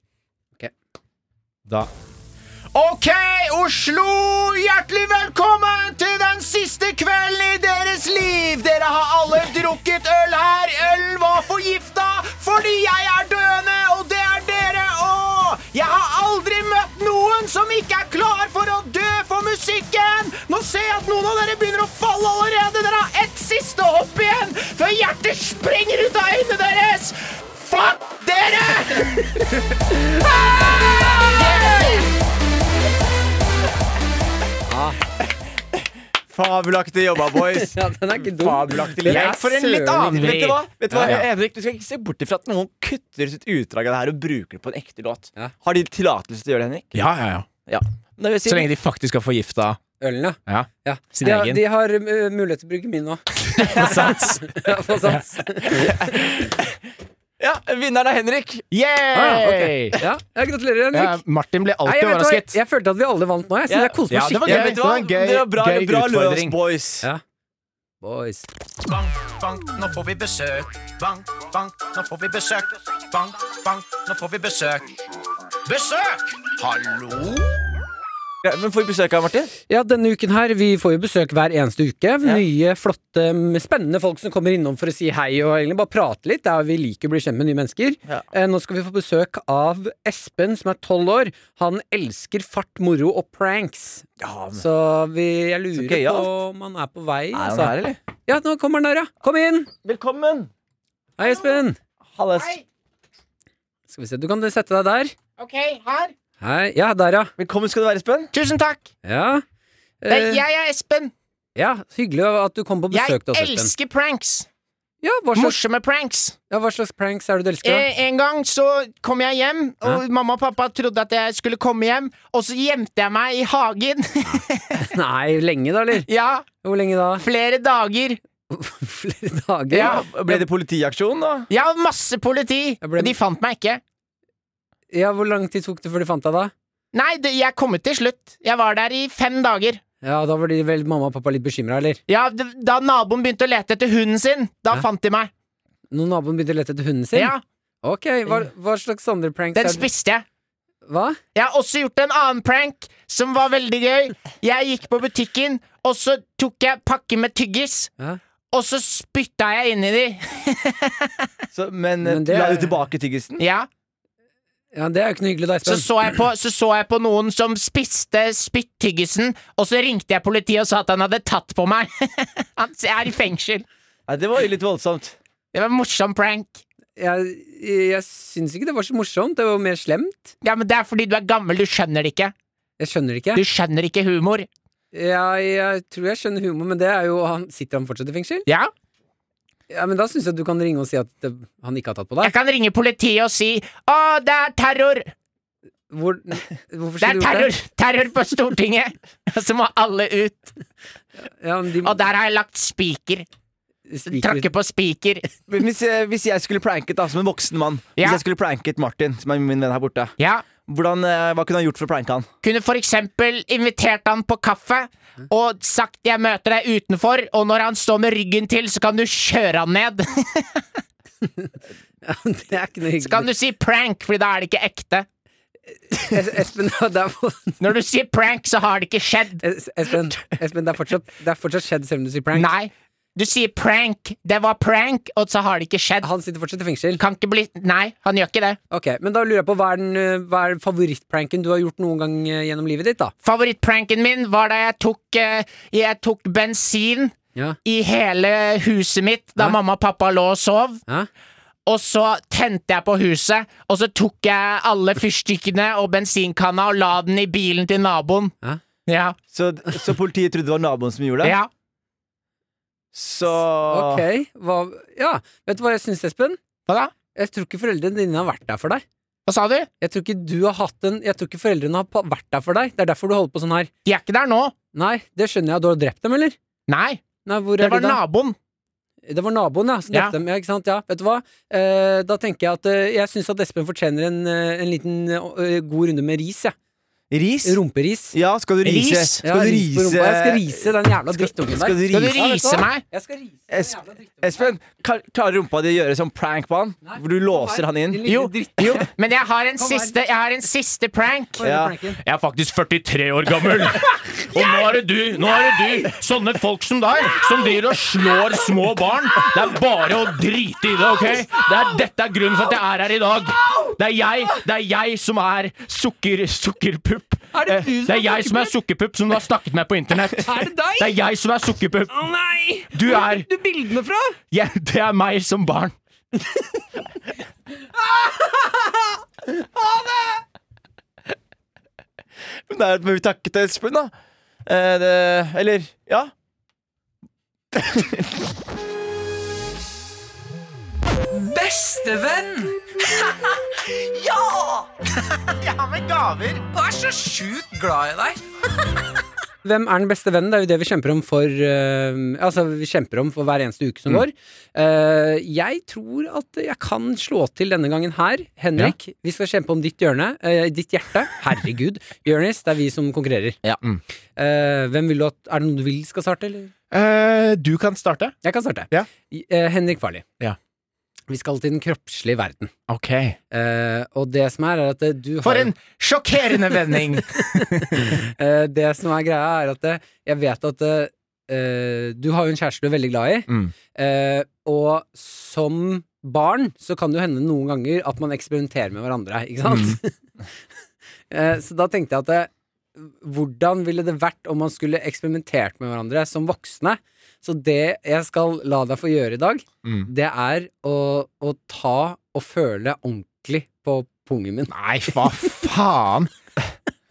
Speaker 2: Ok.
Speaker 3: Da. Ok, Oslo! Hjertelig velkommen til den siste kvelden i deres liv! Dere har alle drukket øl her. Øl var forgifta fordi jeg er døende, og det er dere òg! Jeg har aldri møtt noen som ikke er klar for å dø for musikken! Nå ser jeg at noen av dere begynner å falle allerede! Dere har ett siste hopp igjen før hjertet springer ut av øynene deres! Fuck dere!
Speaker 4: Fabelaktig jobba, boys.
Speaker 2: Ja, den er ikke dum.
Speaker 4: Fabelaktig
Speaker 2: Den er
Speaker 4: lek for en litt
Speaker 2: søren
Speaker 4: annen
Speaker 2: vri.
Speaker 4: Vet du hva? Vet du hva?
Speaker 3: Ja, ja.
Speaker 4: Henrik, du skal ikke se bort ifra at noen kutter sitt utdrag av det her og bruker det på en ekte låt.
Speaker 2: Ja.
Speaker 4: Har de tillatelse til å gjøre det, Henrik?
Speaker 3: Ja, ja, ja.
Speaker 4: Ja. Men da vil jeg si
Speaker 3: Så lenge de faktisk har forgifta
Speaker 2: Ølen, ja.
Speaker 3: ja.
Speaker 2: ja.
Speaker 3: Sin
Speaker 2: De, har-
Speaker 3: egen.
Speaker 2: de har eh, mulighet til å bruke min nå.
Speaker 3: sats.
Speaker 2: Ja, på sats.
Speaker 4: Ja, vinneren er Henrik.
Speaker 2: Ah, ok. ja. ja, gratulerer, Henrik.
Speaker 3: ja, Martin blir
Speaker 2: Nei, jeg,
Speaker 3: alltid
Speaker 2: vet hva,
Speaker 3: overrasket.
Speaker 2: jeg følte at vi alle vant nå. Jeg, så
Speaker 4: Ja.
Speaker 2: jeg koste meg
Speaker 3: Ja, det var
Speaker 2: skikkelig.
Speaker 3: gøy.
Speaker 4: vet du
Speaker 3: det
Speaker 4: hva?
Speaker 3: var en gøy-
Speaker 4: Dere var bra,
Speaker 3: gøy
Speaker 4: bra løs,
Speaker 3: utfordring.
Speaker 4: boys.
Speaker 2: Ja. Boys.
Speaker 5: Bank, bank, nå får vi besøk. Bank, bank, nå får vi besøk. Bank, bank, nå får vi besøk. Besøk! Hallo?
Speaker 4: Ja, men får vi besøk av Martin?
Speaker 2: Ja, denne uken her, vi får jo besøk hver eneste uke. Nye, flotte, m, spennende folk som kommer innom for å si hei og egentlig bare prate litt. Det er, vi liker å bli kjent med nye mennesker.
Speaker 4: Ja.
Speaker 2: Eh, nå skal vi få besøk av Espen, som er tolv år. Han elsker fart, moro og pranks.
Speaker 4: Ja, men
Speaker 2: Så vi, jeg lurer
Speaker 4: Så gøyalt.
Speaker 2: på om han er på vei.
Speaker 4: Er han
Speaker 2: altså.
Speaker 4: her, eller?
Speaker 2: Ja, nå kommer han der, ja. Kom inn!
Speaker 4: Velkommen!
Speaker 2: Hei, Espen.
Speaker 4: Halles.
Speaker 2: Skal vi se, Du kan sette deg der.
Speaker 7: Ok, her.
Speaker 2: Hei. Ja, der, ja.
Speaker 4: Velkommen skal du være, Espen.
Speaker 3: Tusen takk!
Speaker 2: Ja,
Speaker 3: Det
Speaker 2: Eh,
Speaker 3: er, jeg er Espen.
Speaker 2: ja Hyggelig at du kom på
Speaker 3: Jeg
Speaker 2: besøk til oss, Espen.
Speaker 3: elsker pranks.
Speaker 2: Ja, hva slags,
Speaker 3: Morsomme pranks.
Speaker 2: ja, hva slags pranks er det du elsker? da?
Speaker 3: Eh, en gang så kom jeg hjem, og mamma og pappa trodde at jeg skulle komme hjem, og så gjemte jeg meg i hagen.
Speaker 2: Nei, lenge da, eller?
Speaker 3: ja,
Speaker 2: Hvor lenge da?
Speaker 3: flere dager.
Speaker 2: Flere dager?
Speaker 3: Ja.
Speaker 4: Ble det politiaksjon, da?
Speaker 3: Ja, masse politi.
Speaker 2: Jeg ble-
Speaker 3: De fant meg ikke.
Speaker 2: Ja, Hvor lang tid tok det før de fant deg, da?
Speaker 3: Nei, det, jeg kom ut til slutt. Jeg var der i fem dager.
Speaker 2: Ja, Da var de vel mamma og pappa litt bekymra, eller?
Speaker 3: Ja, d- Da naboen begynte å lete etter hunden sin, da
Speaker 2: Hæ?
Speaker 3: fant de meg.
Speaker 2: Når naboen begynte å lete etter hunden sin?
Speaker 3: Ja,
Speaker 2: Ok, Hva, hva slags andre pranks
Speaker 3: Den
Speaker 2: er det?
Speaker 3: spiste jeg.
Speaker 2: Hva?
Speaker 3: Jeg har også gjort en annen prank som var veldig gøy. Jeg gikk på butikken, og så tok jeg pakke med tyggis.
Speaker 2: Ja.
Speaker 3: Og så spytta jeg inni de.
Speaker 4: Så, men eh,
Speaker 2: Men det-
Speaker 4: la du tilbake tyggisen?
Speaker 3: Ja.
Speaker 2: Ja, Det er jo ikke noe hyggelig, da,
Speaker 3: Så
Speaker 2: Espen.
Speaker 3: så, jeg på, så så jeg på noen som spiste spyttyggisen, og så ringte jeg politiet og sa at han hadde tatt på meg. Han er i fengsel.
Speaker 4: Nei, det var jo litt voldsomt.
Speaker 3: Det var en morsom prank.
Speaker 2: Jeg, jeg syns ikke det var så morsomt. Det var jo mer slemt.
Speaker 3: Ja, men Det er fordi du er gammel, du skjønner det ikke.
Speaker 2: Jeg skjønner ikke.
Speaker 3: Du skjønner ikke humor.
Speaker 2: Ja, jeg tror jeg skjønner humor, men det er jo han, Sitter han fortsatt i fengsel?
Speaker 3: Ja?
Speaker 2: Ja, men Da syns jeg du kan ringe og si at det, han ikke har tatt på
Speaker 3: Jeg
Speaker 2: deg.
Speaker 3: kan ringe politiet og si 'Å, det er terror'.
Speaker 2: Hvor, hvorfor
Speaker 3: Det er
Speaker 2: skulle du gjort
Speaker 3: terror! Terror på Stortinget! Og så må alle ut.
Speaker 2: det? Ja, men de,
Speaker 3: Og der har jeg lagt spiker.
Speaker 2: spiker-
Speaker 3: Tråkke på spiker.
Speaker 4: Men Hvis jeg, hvis jeg skulle pranket da, som en voksen mann
Speaker 3: Ja.
Speaker 4: Hvis jeg skulle pranket Martin, som er min venn her borte
Speaker 3: Ja.
Speaker 4: hvordan, eh, Hva kunne han gjort for å pranke han?
Speaker 3: Kunne for eksempel invitert han på kaffe og sagt 'jeg møter deg utenfor', og når han står med ryggen til, så kan du kjøre han ned.
Speaker 2: det er ikke noe
Speaker 3: Så kan
Speaker 2: hyggelig.
Speaker 3: du si 'prank', Fordi da er det ikke ekte.
Speaker 2: Es- Espen, det er for-
Speaker 3: Når du sier 'prank', så har det ikke skjedd.
Speaker 2: Es- Espen, Espen det, er fortsatt, det er fortsatt skjedd selv om du sier prank.
Speaker 3: Nei. Du sier 'prank', det var prank, og så har det ikke skjedd.
Speaker 2: Han sitter fortsatt i fengsel.
Speaker 3: Kan ikke bli Nei, han gjør ikke det.
Speaker 2: Ok, Men da lurer jeg på hva er, den, eh, hva er favorittpranken du har gjort noen gang eh, gjennom livet ditt? da?
Speaker 3: Favorittpranken min var da jeg tok, eh, jeg tok bensin
Speaker 2: Ja.
Speaker 3: i hele huset mitt da
Speaker 2: Hæ?
Speaker 3: mamma og pappa lå og sov.
Speaker 2: Hæ?
Speaker 3: Og så tente jeg på huset, og så tok jeg alle fyrstikkene og bensinkanna og la den i bilen til naboen.
Speaker 2: Hæ?
Speaker 3: Ja.
Speaker 4: Så, så politiet trodde det var naboen som gjorde det?
Speaker 3: ja.
Speaker 4: Så
Speaker 2: Ok, hva, ja. Vet du hva jeg syns, Espen?
Speaker 3: Hva da?
Speaker 2: Jeg tror ikke foreldrene dine har vært der for deg.
Speaker 3: Hva sa du?
Speaker 2: Jeg tror ikke du har hatt en Jeg tror ikke foreldrene har pa- vært der for deg. Det er derfor du holder på sånn her.
Speaker 3: De er ikke der nå.
Speaker 2: Nei, det skjønner jeg. Du har drept dem, eller?
Speaker 3: Nei,
Speaker 2: Nei, hvor
Speaker 3: det
Speaker 2: er
Speaker 3: var
Speaker 2: de da?
Speaker 3: naboen!
Speaker 2: Det var naboen, ja, som
Speaker 3: Ja.
Speaker 2: drepte dem. Ja, ikke sant? Ja, vet du hva? Eh, da tenker jeg at eh, jeg syns at Espen fortjener en, eh, en liten eh, god runde med ris, jeg.
Speaker 4: Ris?
Speaker 2: Rumperis.
Speaker 4: Ja, skal du rise?
Speaker 3: Ris?
Speaker 2: Ja,
Speaker 4: Skal du
Speaker 2: ris på
Speaker 4: rise?
Speaker 2: rumpa. Jeg skal rise den jævla
Speaker 4: Skal-
Speaker 2: drittungen der.
Speaker 4: Skal du
Speaker 3: Skal du
Speaker 2: vet
Speaker 4: rise?
Speaker 2: du
Speaker 3: rise
Speaker 2: hva?
Speaker 3: meg?
Speaker 2: Jeg skal rise den
Speaker 4: Es-
Speaker 2: jævla drittungen der.
Speaker 4: Espen, klar- klarer rumpa di å gjøre sånn prank på han?
Speaker 2: Nei,
Speaker 4: Hvor du
Speaker 2: kom
Speaker 4: låser
Speaker 2: her,
Speaker 4: han
Speaker 2: din
Speaker 4: inn?
Speaker 2: lille
Speaker 3: Jo,
Speaker 2: dritt-
Speaker 3: jo, men jeg har en
Speaker 2: Kom her.
Speaker 3: siste, jeg har en siste prank.
Speaker 2: Få høre
Speaker 4: Ja.
Speaker 2: planken.
Speaker 3: Jeg er faktisk 43 år gammel. Og nå er det du! nå er det du Sånne folk som deg, som driver og slår små barn. Det er bare å drite i det, OK? Det er, dette er grunnen for at jeg er her i dag. Det er jeg, det er jeg som er sukker, sukkerpupp.
Speaker 2: Er det
Speaker 3: Eh,
Speaker 2: du som
Speaker 3: det
Speaker 2: er
Speaker 3: er jeg som er sukkerpupp, som du har snakket med på internett.
Speaker 2: Er det deg?
Speaker 3: Det er jeg som er sukkerpupp.
Speaker 2: Nei!
Speaker 3: Du er
Speaker 2: Du bildene fra?
Speaker 3: jeg, Det er meg som barn.
Speaker 4: Det er vi takke til Espen, da. Eh, det, eller ja.
Speaker 5: Jeg har med gaver.
Speaker 2: Hvem er den beste vennen? Det er jo det vi kjemper om for eh, Altså, vi kjemper om for hver eneste uke
Speaker 3: Mm.
Speaker 2: som går. Eh, jeg tror at jeg kan slå til denne gangen her. Henrik, vi skal kjempe om ditt hjørne. eh, ditt hjerte. Herregud. Jonis, det er vi som konkurrerer.
Speaker 4: Ja.
Speaker 3: Mm.
Speaker 2: Eh, hvem vil du at Er det noen du vil skal starte, eller?
Speaker 3: Eh, du kan starte.
Speaker 2: Jeg kan starte.
Speaker 3: Ja.
Speaker 2: I- eh, Henrik Farli.
Speaker 3: Ja.
Speaker 2: Vi skal til den kroppslige verden.
Speaker 3: Ok
Speaker 2: Eh, og det som er, er at eh, du har
Speaker 3: For en sjokkerende vending!
Speaker 2: Eh, det som er greia, er at eh, jeg vet at eh, du har jo en kjæreste du er veldig glad i,
Speaker 3: Mm.
Speaker 2: Eh, og som barn så kan det jo hende noen ganger at man eksperimenterer med hverandre, ikke sant?
Speaker 3: Mm.
Speaker 2: Eh, så da tenkte jeg at eh, hvordan ville det vært om man skulle eksperimentert med hverandre som voksne? Så det jeg skal la deg få gjøre i dag,
Speaker 3: Mm.
Speaker 2: det er å, å ta og føle ordentlig på pungen min.
Speaker 3: Nei, hva faen?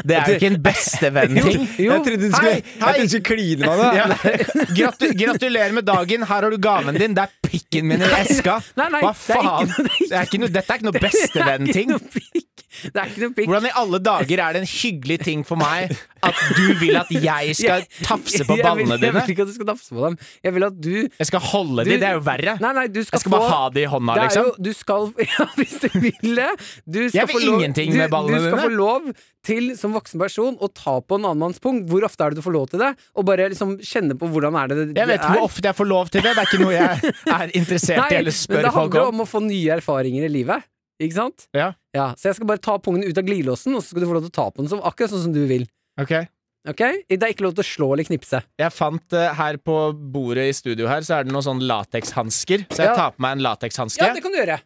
Speaker 3: Det er jo ikke en bestevenn-ting.
Speaker 4: Jeg trodde du skulle,
Speaker 3: Hei, hei.
Speaker 4: Jeg trodde du skulle kline med meg.
Speaker 3: Ja. Gratu gratulerer med dagen, her har du gaven din. Det er pikken min i eska.
Speaker 2: Nei, nei,
Speaker 3: Hva
Speaker 2: det er ikke
Speaker 3: faen?
Speaker 2: noe- det er ikke
Speaker 3: Det er ikke noe, dette er ikke noe
Speaker 2: Det
Speaker 3: bestevenn-ting.
Speaker 2: er ikke noe pikk. Det er ikke noe pikk.
Speaker 3: Hvordan i alle dager er det en hyggelig ting for meg at du vil at jeg skal tafse på
Speaker 2: Jeg vil-
Speaker 3: ballene
Speaker 2: Jeg
Speaker 3: dine?
Speaker 2: vil ikke at du skal tafse på dem. Jeg vil at du
Speaker 3: Jeg skal holde de, det er jo verre.
Speaker 2: Nei, nei, du skal,
Speaker 3: Jeg skal bare
Speaker 2: få-
Speaker 3: ha det i hånda,
Speaker 2: Det er
Speaker 3: liksom.
Speaker 2: Jo, du skal Ja, hvis du vil det. Du skal
Speaker 3: Jeg vil
Speaker 2: få lov-
Speaker 3: ingenting
Speaker 2: du,
Speaker 3: med ballene
Speaker 2: Du skal
Speaker 3: dine.
Speaker 2: få lov til, som voksen person, å ta på en annen manns pung. Hvor ofte er det du får lov til det? Og bare liksom kjenne på hvordan er det det
Speaker 3: Jeg vet
Speaker 2: det
Speaker 3: ikke
Speaker 2: er.
Speaker 3: hvor ofte jeg får lov til det. Det er ikke noe jeg er interessert i eller
Speaker 2: men
Speaker 3: spør
Speaker 2: det
Speaker 3: folk
Speaker 2: handler
Speaker 3: om.
Speaker 2: om å få nye erfaringer i livet. Ikke sant?
Speaker 3: Ja.
Speaker 2: Så jeg skal bare ta pungen ut av glidelåsen, og så skal du få lov til å ta på den som, akkurat sånn som du vil.
Speaker 3: Ok
Speaker 2: Ok? Det er ikke lov til å slå eller knipse.
Speaker 3: Jeg fant eh, her på bordet i studio her, så er det noen sånne latekshansker. Så jeg
Speaker 2: Ja.
Speaker 3: tar på meg en latekshanske.
Speaker 2: Ja, det kan du gjøre.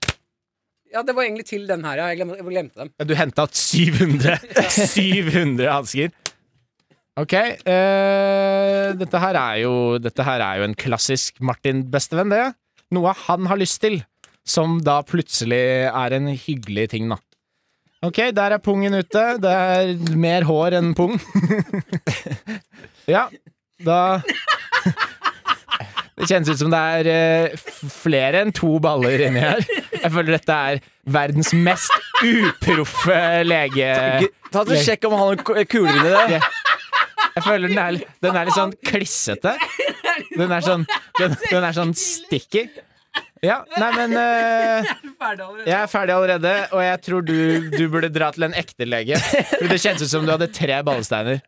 Speaker 2: Ja, det var egentlig til den her. ja. Jeg glemte, jeg glemte dem.
Speaker 3: Du henta 700 700 hansker. Ok. eh, dette, her er jo, dette her er jo en klassisk Martin-bestevenn, det. Noe han har lyst til, som da plutselig er en hyggelig ting, da. Ok, der er pungen ute. Det er mer hår enn pung. ja, da Det kjennes ut som det er eh, f- flere enn to baller inni her. Jeg føler dette er verdens mest uproffe lege...
Speaker 4: Ta og Sjekk om han har k- kuler inni det.
Speaker 3: Jeg føler den er, den er litt sånn klissete. Den er sånn, den, den er sånn sticky. Ja, nei, men eh, Jeg er ferdig allerede, og jeg tror du, du burde dra til en ekte lege. For det kjentes ut som du hadde tre ballesteiner.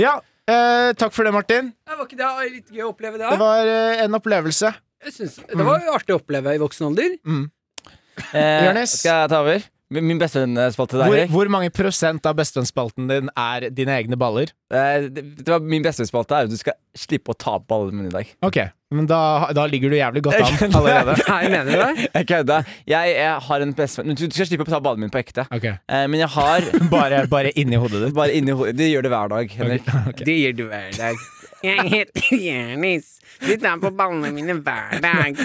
Speaker 3: Ja, eh, takk for det, Martin.
Speaker 2: Det var ikke det, det var litt gøy å oppleve det.
Speaker 3: Det var eh, en opplevelse.
Speaker 2: Jeg synes, det var jo artig å oppleve i voksen alder.
Speaker 4: Eh,
Speaker 3: Jonis?
Speaker 4: Skal jeg ta over? Min eh, min bestevennspalte der,
Speaker 3: Hvor,
Speaker 4: Erik.
Speaker 3: hvor mange prosent av bestevennspalten din er dine egne baller?
Speaker 4: Eh, det, det var min bestevennspalte er at du skal slippe å ta på alle mine i dag.
Speaker 3: Ok, men da, da ligger du jævlig godt an allerede.
Speaker 2: Nei, mener du det?
Speaker 4: Jeg kødda. Jeg, jeg har en bestevenn Du du skal slippe å ta ballene mine på ekte.
Speaker 3: Ok,
Speaker 4: Eh, men jeg har
Speaker 3: Bare, bare inni hodet ditt.
Speaker 4: Bare inni hodet. De gjør det hver dag, Henrik.
Speaker 2: Det gjør du hver dag. Jeg heter Jonis. Du tar på ballene mine hver dag.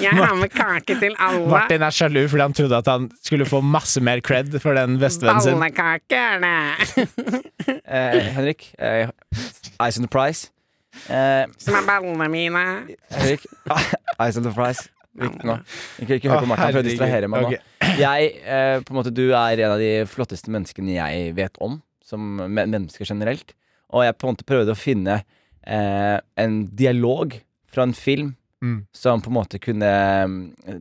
Speaker 2: Jeg har med kake til alle.
Speaker 3: Martin er sjalu fordi han trodde at han skulle få masse mer cred for den bestevennen sin.
Speaker 2: Ballekake er det.
Speaker 4: Eh, Henrik. Eh, Eyes on the prize. Eh,
Speaker 2: Som er ballene mine.
Speaker 4: Henrik. Ah, Eyes on the prize. Ikke, nå. ikke, ikke hør
Speaker 3: Å,
Speaker 4: på Martin, for jeg
Speaker 3: herregud.
Speaker 4: distraherer meg nå.
Speaker 3: Ok.
Speaker 4: Jeg, eh, på en måte, du er en av de flotteste menneskene jeg vet om, som men- mennesker generelt. Og jeg på en måte prøvde å finne eh, en dialog fra en film
Speaker 3: Mm.
Speaker 4: som på en måte kunne eh,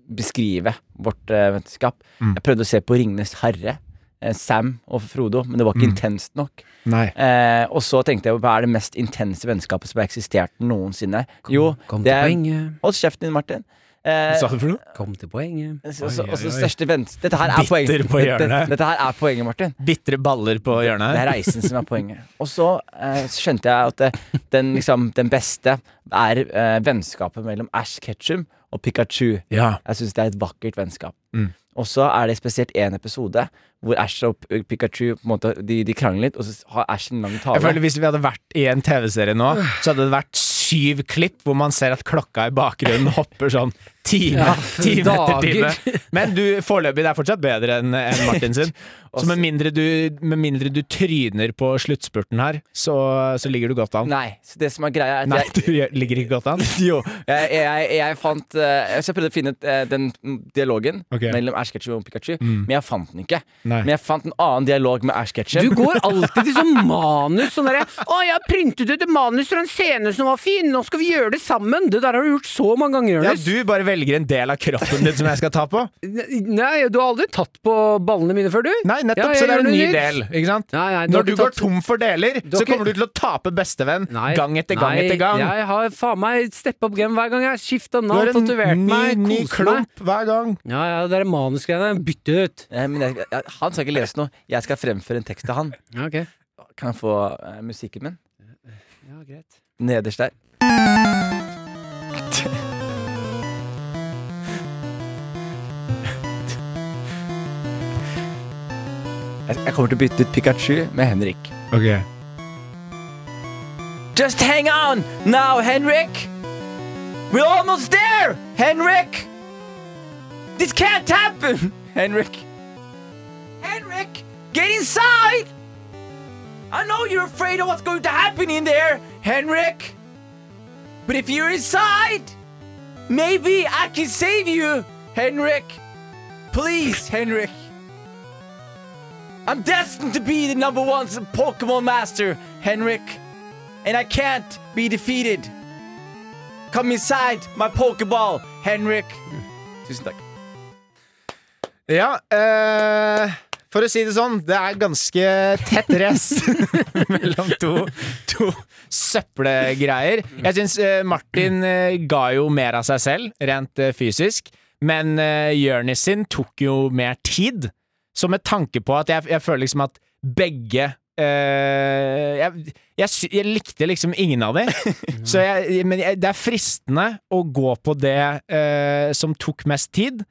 Speaker 4: beskrive vårt eh, vennskap.
Speaker 3: Mm.
Speaker 4: Jeg prøvde å se på 'Ringenes herre', eh, Sam og Frodo, men det var ikke
Speaker 3: Mm.
Speaker 4: intenst nok.
Speaker 3: Nei.
Speaker 4: Eh, og så tenkte jeg hva er det mest intense vennskapet som har eksistert noensinne? jo,
Speaker 2: Kom
Speaker 4: det
Speaker 2: til
Speaker 4: er
Speaker 2: poenget.
Speaker 4: Hold kjeften din, Martin. Eh,
Speaker 3: Sa du for noe?
Speaker 2: Kom til poenget.
Speaker 4: og
Speaker 3: Oi,
Speaker 4: så
Speaker 3: oi,
Speaker 4: og så
Speaker 3: oi.
Speaker 4: største vennskap Dette her er
Speaker 3: Bitter
Speaker 4: poenget.
Speaker 3: på hjørnet.
Speaker 4: Dette, dette her er poenget, Martin.
Speaker 3: Bitre baller på
Speaker 4: Det er
Speaker 3: hjørnet.
Speaker 4: reisen som er poenget. Og så eh, skjønte jeg at det, den, liksom, den beste er eh, vennskapet mellom Ash Ketchum og Pikachu.
Speaker 3: Ja.
Speaker 4: Jeg syns det er et vakkert vennskap.
Speaker 3: Mm.
Speaker 4: Og så er det spesielt én episode hvor Ash og P- Pikachu på en måte, de, de krangler litt, og så har Ash en lang
Speaker 3: Jeg
Speaker 4: tale.
Speaker 3: føler Hvis vi hadde vært i en TV-serie nå, så hadde det vært syv klipp hvor man ser at klokka i bakgrunnen hopper sånn time,
Speaker 2: Ja,
Speaker 3: time etter
Speaker 2: dager.
Speaker 3: time. Men du, foreløpig, det er fortsatt bedre enn enn Martin sin. Så med mindre du, med mindre du tryner på sluttspurten her, så, så ligger du godt an.
Speaker 4: Nei, så det som er greia, er at
Speaker 3: Nei,
Speaker 4: jeg
Speaker 3: du gjør- ligger ikke godt an.
Speaker 4: jo, jeg, jeg, jeg fant eh, Så jeg prøvde å finne eh, den dialogen
Speaker 3: Ok. Mm.
Speaker 4: mellom Ash Ketchum og Pikachu, men jeg fant den ikke.
Speaker 3: Nei.
Speaker 4: Men jeg fant en annen dialog med Ash Ketchum.
Speaker 2: Du går alltid til sånn manus. Sånn derre 'Å, jeg har printet ut et manus fra en scene som var fin, nå skal vi gjøre det sammen'. Det der har du gjort så mange ganger,
Speaker 3: Ja,
Speaker 2: Jonis.
Speaker 3: du bare velger en del av kroppen din som jeg skal ta på.
Speaker 2: N- Nei, du har aldri tatt på ballene mine før, du.
Speaker 3: Nei, nettopp,
Speaker 2: Ja, jeg
Speaker 3: så det er
Speaker 2: gjør
Speaker 3: en ny
Speaker 2: nytt.
Speaker 3: del. Ikke sant?
Speaker 2: Nei, nei,
Speaker 3: Når du
Speaker 2: ikke
Speaker 3: går
Speaker 2: tatt-
Speaker 3: tom for deler,
Speaker 2: har
Speaker 3: så
Speaker 2: ikke-
Speaker 3: kommer du til å tape bestevenn
Speaker 2: Nei,
Speaker 3: gang etter gang
Speaker 2: nei,
Speaker 3: etter gang.
Speaker 2: Jeg har faen meg steppa opp game hver gang. Jeg har skifta
Speaker 3: Du har
Speaker 2: navn, tatovert
Speaker 3: en ny,
Speaker 2: meg, kost
Speaker 3: ny
Speaker 2: meg.
Speaker 3: klump hver gang.
Speaker 2: Ja, ja, det er manusgreiene. Bytt det ut.
Speaker 4: Eh, Men jeg, jeg, han skal ikke lese noe. Jeg skal fremføre en tekst til han.
Speaker 2: Ja, ok.
Speaker 4: Kan jeg få eh, musikken min?
Speaker 2: Ja, greit.
Speaker 4: Nederst der. Jeg jeg kommer til å bytte ut Pikachu med Henrik. Just hang on now, Henrik! We're almost there, Henrik! This can't happen, Henrik! Henrik, get inside! I know you're afraid of what's going to happen in there, Henrik! But if you're inside, maybe I can save you, Henrik! Please, Henrik! I'm destined to be the number one Pokemon Master, Henrik! and I can't be defeated. Come inside my pokeball, Henrik. Tusen takk.
Speaker 3: Ja, eh, for å si det sånn, det er ganske tett race mellom to, to søppelgreier. Jeg syns eh, Martin eh, ga jo mer av seg selv, rent eh, fysisk, men eh, Jørnis sin tok jo mer tid. Så med tanke på at jeg, jeg føler liksom at begge eh, jeg, jeg, sy- jeg likte liksom ingen av dem. Så jeg, men jeg, det er fristende å gå på det eh, som tok mest tid.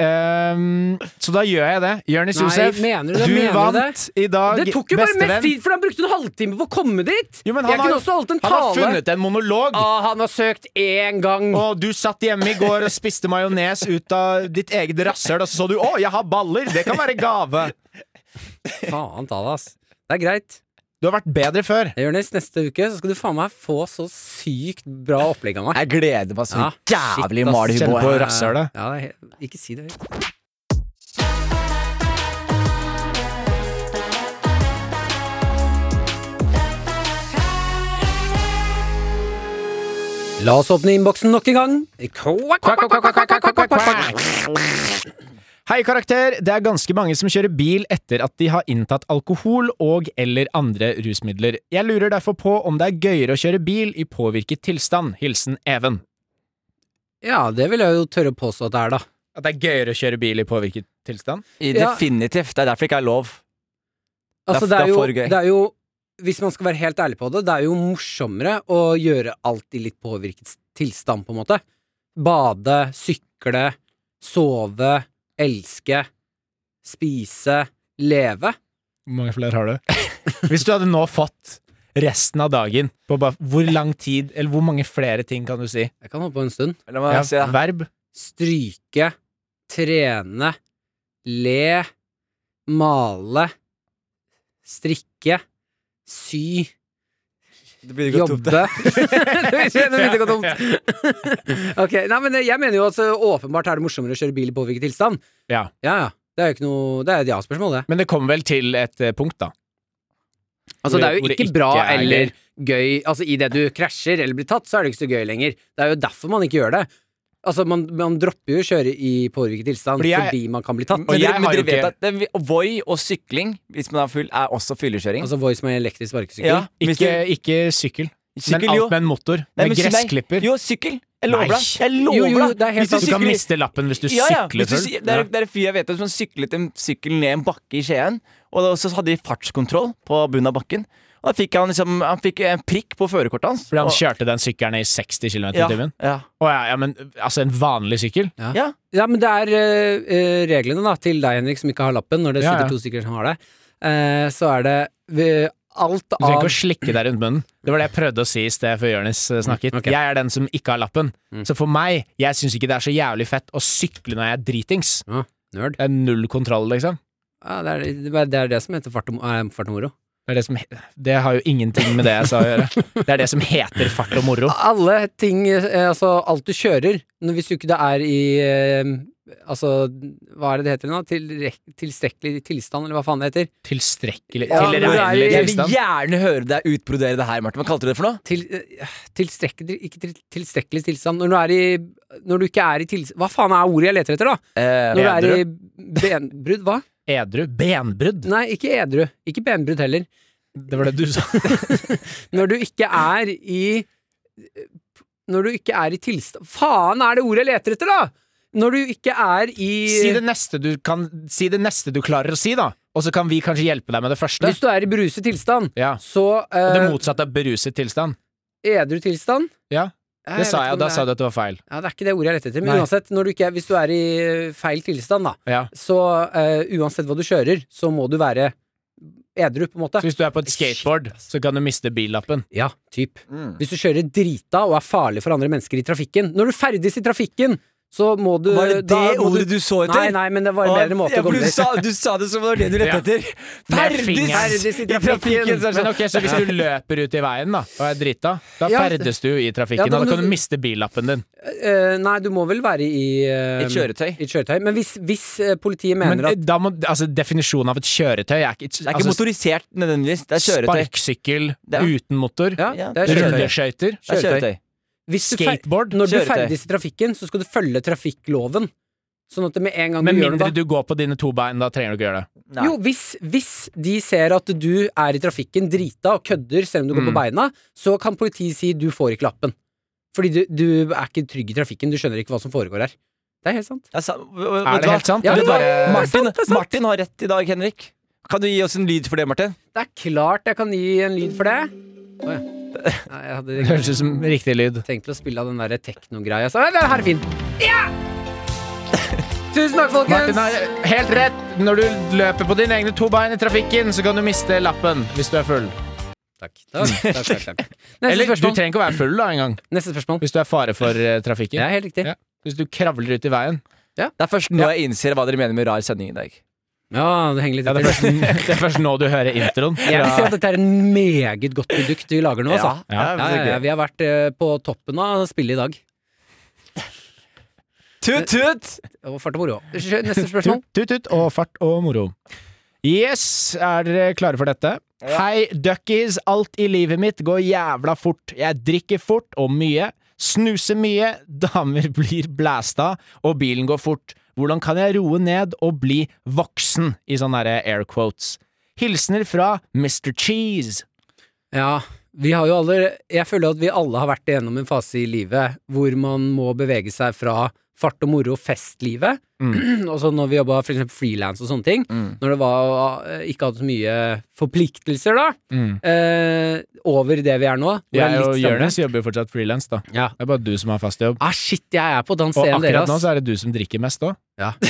Speaker 3: Ehm, så da gjør jeg det. Jonis
Speaker 2: Nei,
Speaker 3: Josef,
Speaker 2: mener du det? Mener du
Speaker 3: vant i dag.
Speaker 2: Det tok jo bare mest
Speaker 3: bestevenn.
Speaker 2: tid, for han brukte en halvtime på å komme dit!
Speaker 3: Jo, men
Speaker 2: jeg
Speaker 3: han
Speaker 2: kunne
Speaker 3: har,
Speaker 2: også holdt en
Speaker 3: han har
Speaker 2: tale.
Speaker 3: funnet en monolog.
Speaker 2: Ah, han har søkt én gang.
Speaker 3: Og du satt hjemme i går og spiste majones ut av ditt eget rasshøl, og så så du 'Å, jeg har baller'. Det kan være gave.
Speaker 2: Faen ta det, ass. Det er greit.
Speaker 3: Du har vært bedre før.
Speaker 2: Jonis, neste uke så skal du faen meg få så sykt bra opplegg av meg.
Speaker 4: Jeg gleder meg så
Speaker 2: Ja,
Speaker 4: jævlig
Speaker 2: shit, ass.
Speaker 4: mal i
Speaker 3: Kjenn på
Speaker 4: huet.
Speaker 3: rasshølet.
Speaker 2: Ja, det er helt- ikke si det høyt. La oss åpne innboksen nok en gang. Kvakk, kvakk, kvakk, kvakk, kvakk, kvakk, kvakk, kvakk.
Speaker 3: Hei, karakter! Det er ganske mange som kjører bil etter at de har inntatt alkohol og eller andre rusmidler. Jeg lurer derfor på om det er gøyere å kjøre bil i påvirket tilstand. Hilsen Even.
Speaker 2: Ja, det vil jeg jo tørre å påstå at det er, da.
Speaker 3: At det er gøyere å kjøre bil i påvirket tilstand?
Speaker 4: I
Speaker 2: Ja.
Speaker 4: Definitivt. Det er derfor det ikke er lov.
Speaker 2: Altså,
Speaker 4: Det
Speaker 2: det
Speaker 4: er-
Speaker 2: er
Speaker 4: det er
Speaker 2: jo,
Speaker 4: for gøy.
Speaker 2: det er jo hvis man skal være helt ærlig på det, det er jo morsommere å gjøre alt i litt påvirket tilstand, på en måte. Bade, sykle, sove, elske, spise, leve.
Speaker 3: Hvor mange flere har du? Hvis du hadde nå fått resten av dagen på bare hvor lang tid, eller hvor mange flere ting kan du si?
Speaker 2: Jeg kan holde på en stund.
Speaker 4: La meg se.
Speaker 3: Ja, verb.
Speaker 2: Stryke, trene, le, male, strikke, sy,
Speaker 4: Det blir godt opp, det.
Speaker 2: Jobbe. Nå begynte det å gå tomt. ok, nei, men eh, Jeg mener jo at så åpenbart er det morsommere å kjøre bil i påvirket tilstand.
Speaker 3: Ja.
Speaker 2: ja. ja. Det er jo ikke noe Det er et ja-spørsmål, det.
Speaker 3: Men det kommer vel til et eh, punkt, da.
Speaker 2: Altså, det er
Speaker 3: Hvor
Speaker 2: jo
Speaker 3: det
Speaker 2: ikke
Speaker 3: ikke
Speaker 2: bra
Speaker 3: er gøy.
Speaker 2: eller gøy Altså, idet du krasjer eller blir tatt, så er det ikke så gøy lenger. Det er jo derfor man ikke gjør det. Altså, man, man dropper jo å kjøre i påvirket tilstand
Speaker 3: Fordi
Speaker 2: fordi,
Speaker 3: jeg-
Speaker 2: man kan bli tatt.
Speaker 3: Og
Speaker 4: Men
Speaker 3: jeg
Speaker 4: dere, men
Speaker 3: har jo
Speaker 4: dere vet
Speaker 3: ikke-
Speaker 4: at det, Voi og sykling, hvis man er full, er også
Speaker 3: Mm.
Speaker 4: fyllekjøring.
Speaker 2: Altså Voice med elektrisk sparkesykkel.
Speaker 4: Ja, hvis
Speaker 3: Ikke, ikke sykkel,
Speaker 4: Sykkel,
Speaker 3: men
Speaker 4: jo.
Speaker 3: alt med en motor.
Speaker 4: Nei, men
Speaker 3: med
Speaker 4: sy- nei,
Speaker 3: gressklipper.
Speaker 4: Jo, sykkel. Jeg lover
Speaker 3: Nei.
Speaker 4: deg. Jeg lover
Speaker 2: Jo, jo,
Speaker 4: deg.
Speaker 2: det er helt
Speaker 4: Hvis du
Speaker 2: sant.
Speaker 3: Du kan
Speaker 4: sykler-
Speaker 3: miste lappen hvis du
Speaker 4: ja, ja.
Speaker 3: sykler
Speaker 4: Hvis du
Speaker 3: full.
Speaker 4: sy- Det er, det er en fyr jeg vet om som syklet en sykkel ned en bakke i Skien. Og da- så hadde de fartskontroll på bunnen av bakken. Og da fikk han liksom Han fikk en prikk på førerkortet hans.
Speaker 3: Fordi han
Speaker 4: Og-
Speaker 3: kjørte den sykkelen i 60 km i
Speaker 4: ja,
Speaker 3: timen?
Speaker 4: ja.
Speaker 3: Å ja, ja, men altså en vanlig sykkel?
Speaker 4: ja.
Speaker 2: Ja, men det er eh, eh, reglene da, til deg, Henrik, som ikke har lappen, når det
Speaker 3: Ja,
Speaker 2: sitter
Speaker 3: ja.
Speaker 2: to stykker som har det. Eh, så er det ved alt
Speaker 3: Du trenger
Speaker 2: av
Speaker 3: ikke å slikke deg rundt munnen. Det var det jeg prøvde å si i sted før Jonis eh, snakket.
Speaker 2: Mm, ok.
Speaker 3: Jeg er den som ikke har lappen.
Speaker 2: Mm.
Speaker 3: Så for meg, jeg syns ikke det er så jævlig fett å sykle når jeg er dritings.
Speaker 2: Nerd.
Speaker 3: Det er null kontroll, liksom.
Speaker 2: Ja, det, er, det er- det er det som heter fart og, eh, fart og moro.
Speaker 3: Det, er det, som, he- det har jo ingenting med det jeg sa å gjøre. Det er det som heter fart og moro.
Speaker 2: Alle ting, eh, altså alt du kjører, når- hvis du ikke det er i eh, Altså, hva er det det heter nå? Tilre- tilstrekkelig tilstand, eller hva faen det heter?
Speaker 3: Tilstrekkelig
Speaker 2: Ja, men det er-
Speaker 3: Tilregnelig
Speaker 4: Jeg vil
Speaker 3: tilstand.
Speaker 4: gjerne høre deg utbrodere det her, Martin. Hva kalte du det for noe?
Speaker 2: Til, eh, tilstrekkelig Ikke til, tilstrekkelig tilstand. Når du er i Når du ikke er i tilstand Hva faen er ordet jeg leter etter, da?
Speaker 4: Eh,
Speaker 2: Når du er
Speaker 4: bedre.
Speaker 2: i benbrudd, hva?
Speaker 3: Edru. Benbrudd.
Speaker 2: Nei, ikke edru. Ikke benbrudd heller.
Speaker 3: Det var det du sa.
Speaker 2: Når du ikke er i Når du ikke er i tilstand Faen er det ordet jeg leter etter, da! Når du ikke er i
Speaker 3: Si det neste du kan Si det neste du klarer å si, da. Og så kan vi kanskje hjelpe deg med det første.
Speaker 2: Hvis du er i beruset tilstand,
Speaker 3: Ja.
Speaker 2: så
Speaker 3: Og det
Speaker 2: eh,
Speaker 3: motsatte av beruset tilstand.
Speaker 2: Edru tilstand
Speaker 3: Ja,
Speaker 2: Nei,
Speaker 3: Det
Speaker 2: vet
Speaker 3: sa jeg,
Speaker 2: ikke
Speaker 3: og
Speaker 2: om
Speaker 3: da
Speaker 2: det
Speaker 3: sa
Speaker 2: er-
Speaker 3: du at det var feil.
Speaker 2: Ja, det er ikke det ordet jeg leter etter. Men
Speaker 3: Nei.
Speaker 2: uansett, når du ikke er, hvis du er i eh, feil tilstand, da,
Speaker 3: Ja.
Speaker 2: så eh, uansett hva du kjører, så må du være edru, på en måte.
Speaker 3: Så hvis du er på et skateboard, så kan du miste billappen.
Speaker 2: Ja, typ.
Speaker 4: Mm.
Speaker 2: Hvis du kjører drita og er farlig for andre mennesker i trafikken Når du ferdes i trafikken, så må du
Speaker 4: Var det
Speaker 2: da
Speaker 4: det
Speaker 2: må
Speaker 4: ordet du så etter?
Speaker 2: Nei, nei, men det var en
Speaker 4: Å,
Speaker 2: bedre måte
Speaker 4: ja,
Speaker 2: å
Speaker 4: for
Speaker 2: komme
Speaker 4: du,
Speaker 2: dit.
Speaker 4: sa, du sa det som var det du lette
Speaker 3: Ja.
Speaker 4: etter.
Speaker 3: Med
Speaker 4: Ferdig!
Speaker 3: fingeren.
Speaker 2: Ferdes i trafikken.
Speaker 4: så er det
Speaker 3: Men
Speaker 4: sånn,
Speaker 3: ok, Så hvis du løper ut i veien da og er drita, da
Speaker 2: Ja.
Speaker 3: ferdes du i
Speaker 2: Ja, da
Speaker 3: trafikken, og da
Speaker 2: må
Speaker 3: kan
Speaker 2: du-
Speaker 3: du miste billappen din.
Speaker 2: Eh, nei, du må vel være i eh,
Speaker 4: Et kjøretøy.
Speaker 2: I et kjøretøy. Men hvis, hvis eh, politiet
Speaker 3: Men
Speaker 2: mener
Speaker 3: eh,
Speaker 2: at
Speaker 3: da må, altså Definisjonen av et kjøretøy er ikke, altså,
Speaker 4: Det er ikke motorisert nødvendigvis. Det er kjøretøy.
Speaker 3: Sparkesykkel
Speaker 4: Det er-
Speaker 3: uten motor,
Speaker 2: Ja,
Speaker 4: Ja,
Speaker 2: det er kjøretøy.
Speaker 3: rulleskøyter,
Speaker 4: Det er kjøretøy.
Speaker 2: Hvis du fer-
Speaker 3: skateboard.
Speaker 2: Når du
Speaker 4: Kjøretøy.
Speaker 2: ferdes i trafikken, så skal du følge trafikkloven. Sånn at det med en gang
Speaker 3: Med
Speaker 2: du gjør
Speaker 3: mindre
Speaker 2: noe da
Speaker 3: du går på dine to bein, da trenger du ikke gjøre det.
Speaker 4: Nei.
Speaker 2: Jo, hvis, hvis de ser at du er i trafikken drita og kødder selv om du går på
Speaker 3: Mm.
Speaker 2: beina, så kan politiet si du får ikke lappen. Fordi du, du er ikke trygg i trafikken, du skjønner ikke hva som foregår her. Det er helt sant.
Speaker 4: Jeg sa-
Speaker 3: Er
Speaker 4: vet du
Speaker 3: det
Speaker 4: hva?
Speaker 3: helt sant?
Speaker 2: Ja,
Speaker 4: Vet
Speaker 2: det
Speaker 3: Eller
Speaker 4: du hva?
Speaker 2: var-
Speaker 3: bare-
Speaker 2: det er sant,
Speaker 4: Martin,
Speaker 2: det er sant.
Speaker 4: Martin har rett i dag, Henrik. Kan du gi oss en lyd for det, Martin?
Speaker 2: Det er klart jeg kan gi en lyd for det. Å ja. Nei, jeg hadde
Speaker 3: Det høres ut som riktig lyd.
Speaker 2: tenkt til å spille av den derre teknogreia. Så den her er fin. Ja! Tusen takk, folkens.
Speaker 3: Martin har helt rett. Når du løper på dine egne to bein i trafikken, så kan du miste lappen hvis du er full.
Speaker 2: Takk, takk, takk, takk, takk. Neste
Speaker 3: Eller du
Speaker 2: spørsmål.
Speaker 3: trenger ikke å være full da engang,
Speaker 2: Neste spørsmål.
Speaker 3: hvis du er fare for eh, trafikken.
Speaker 2: Det er helt riktig.
Speaker 3: Ja. Hvis du kravler ut i veien.
Speaker 4: Det er først nå jeg innser hva dere mener med rar sending i dag.
Speaker 2: Ja, det henger litt
Speaker 3: Ja, det, er
Speaker 2: etter.
Speaker 3: først, det er først nå du hører introen.
Speaker 2: Jeg vil si at dette er en meget godt produkt vi lager nå, altså.
Speaker 3: Ja,
Speaker 4: det er
Speaker 2: Ja, ja, ja,
Speaker 4: gøy.
Speaker 2: vi har vært eh, på toppen av spillet i dag.
Speaker 4: Tut, tut!
Speaker 2: Og fart og moro. Kjør Neste spørsmål.
Speaker 3: Tut, tut, tut og fart og moro. Yes, er dere klare for dette? Hei, duckies. Alt i livet mitt går jævla fort. Jeg drikker fort og mye. Snuser mye. Damer blir blæsta, og bilen går fort. Hvordan kan jeg roe ned og bli voksen, i sånne derre air quotes? Hilsener fra Mr. Cheese.
Speaker 2: Ja, vi har jo alle Jeg føler at vi alle har vært igjennom en fase i livet hvor man må bevege seg fra fart og moro, festlivet,
Speaker 3: Mm.
Speaker 2: og så når vi jobba for eksempel frilans og sånne ting, når det var eh, ikke hadde så mye forpliktelser, da, eh, over det vi er nå. hvor det er
Speaker 3: Mm. Jeg og
Speaker 2: litt samlet.
Speaker 3: Jonis jobber jo fortsatt frilans, da.
Speaker 2: Ja.
Speaker 3: Det er bare du som har fast jobb.
Speaker 2: Ah, shit, jeg er på den
Speaker 3: Og
Speaker 2: scenen
Speaker 3: akkurat
Speaker 2: deres.
Speaker 3: nå så er det du som drikker mest òg.
Speaker 2: Ja.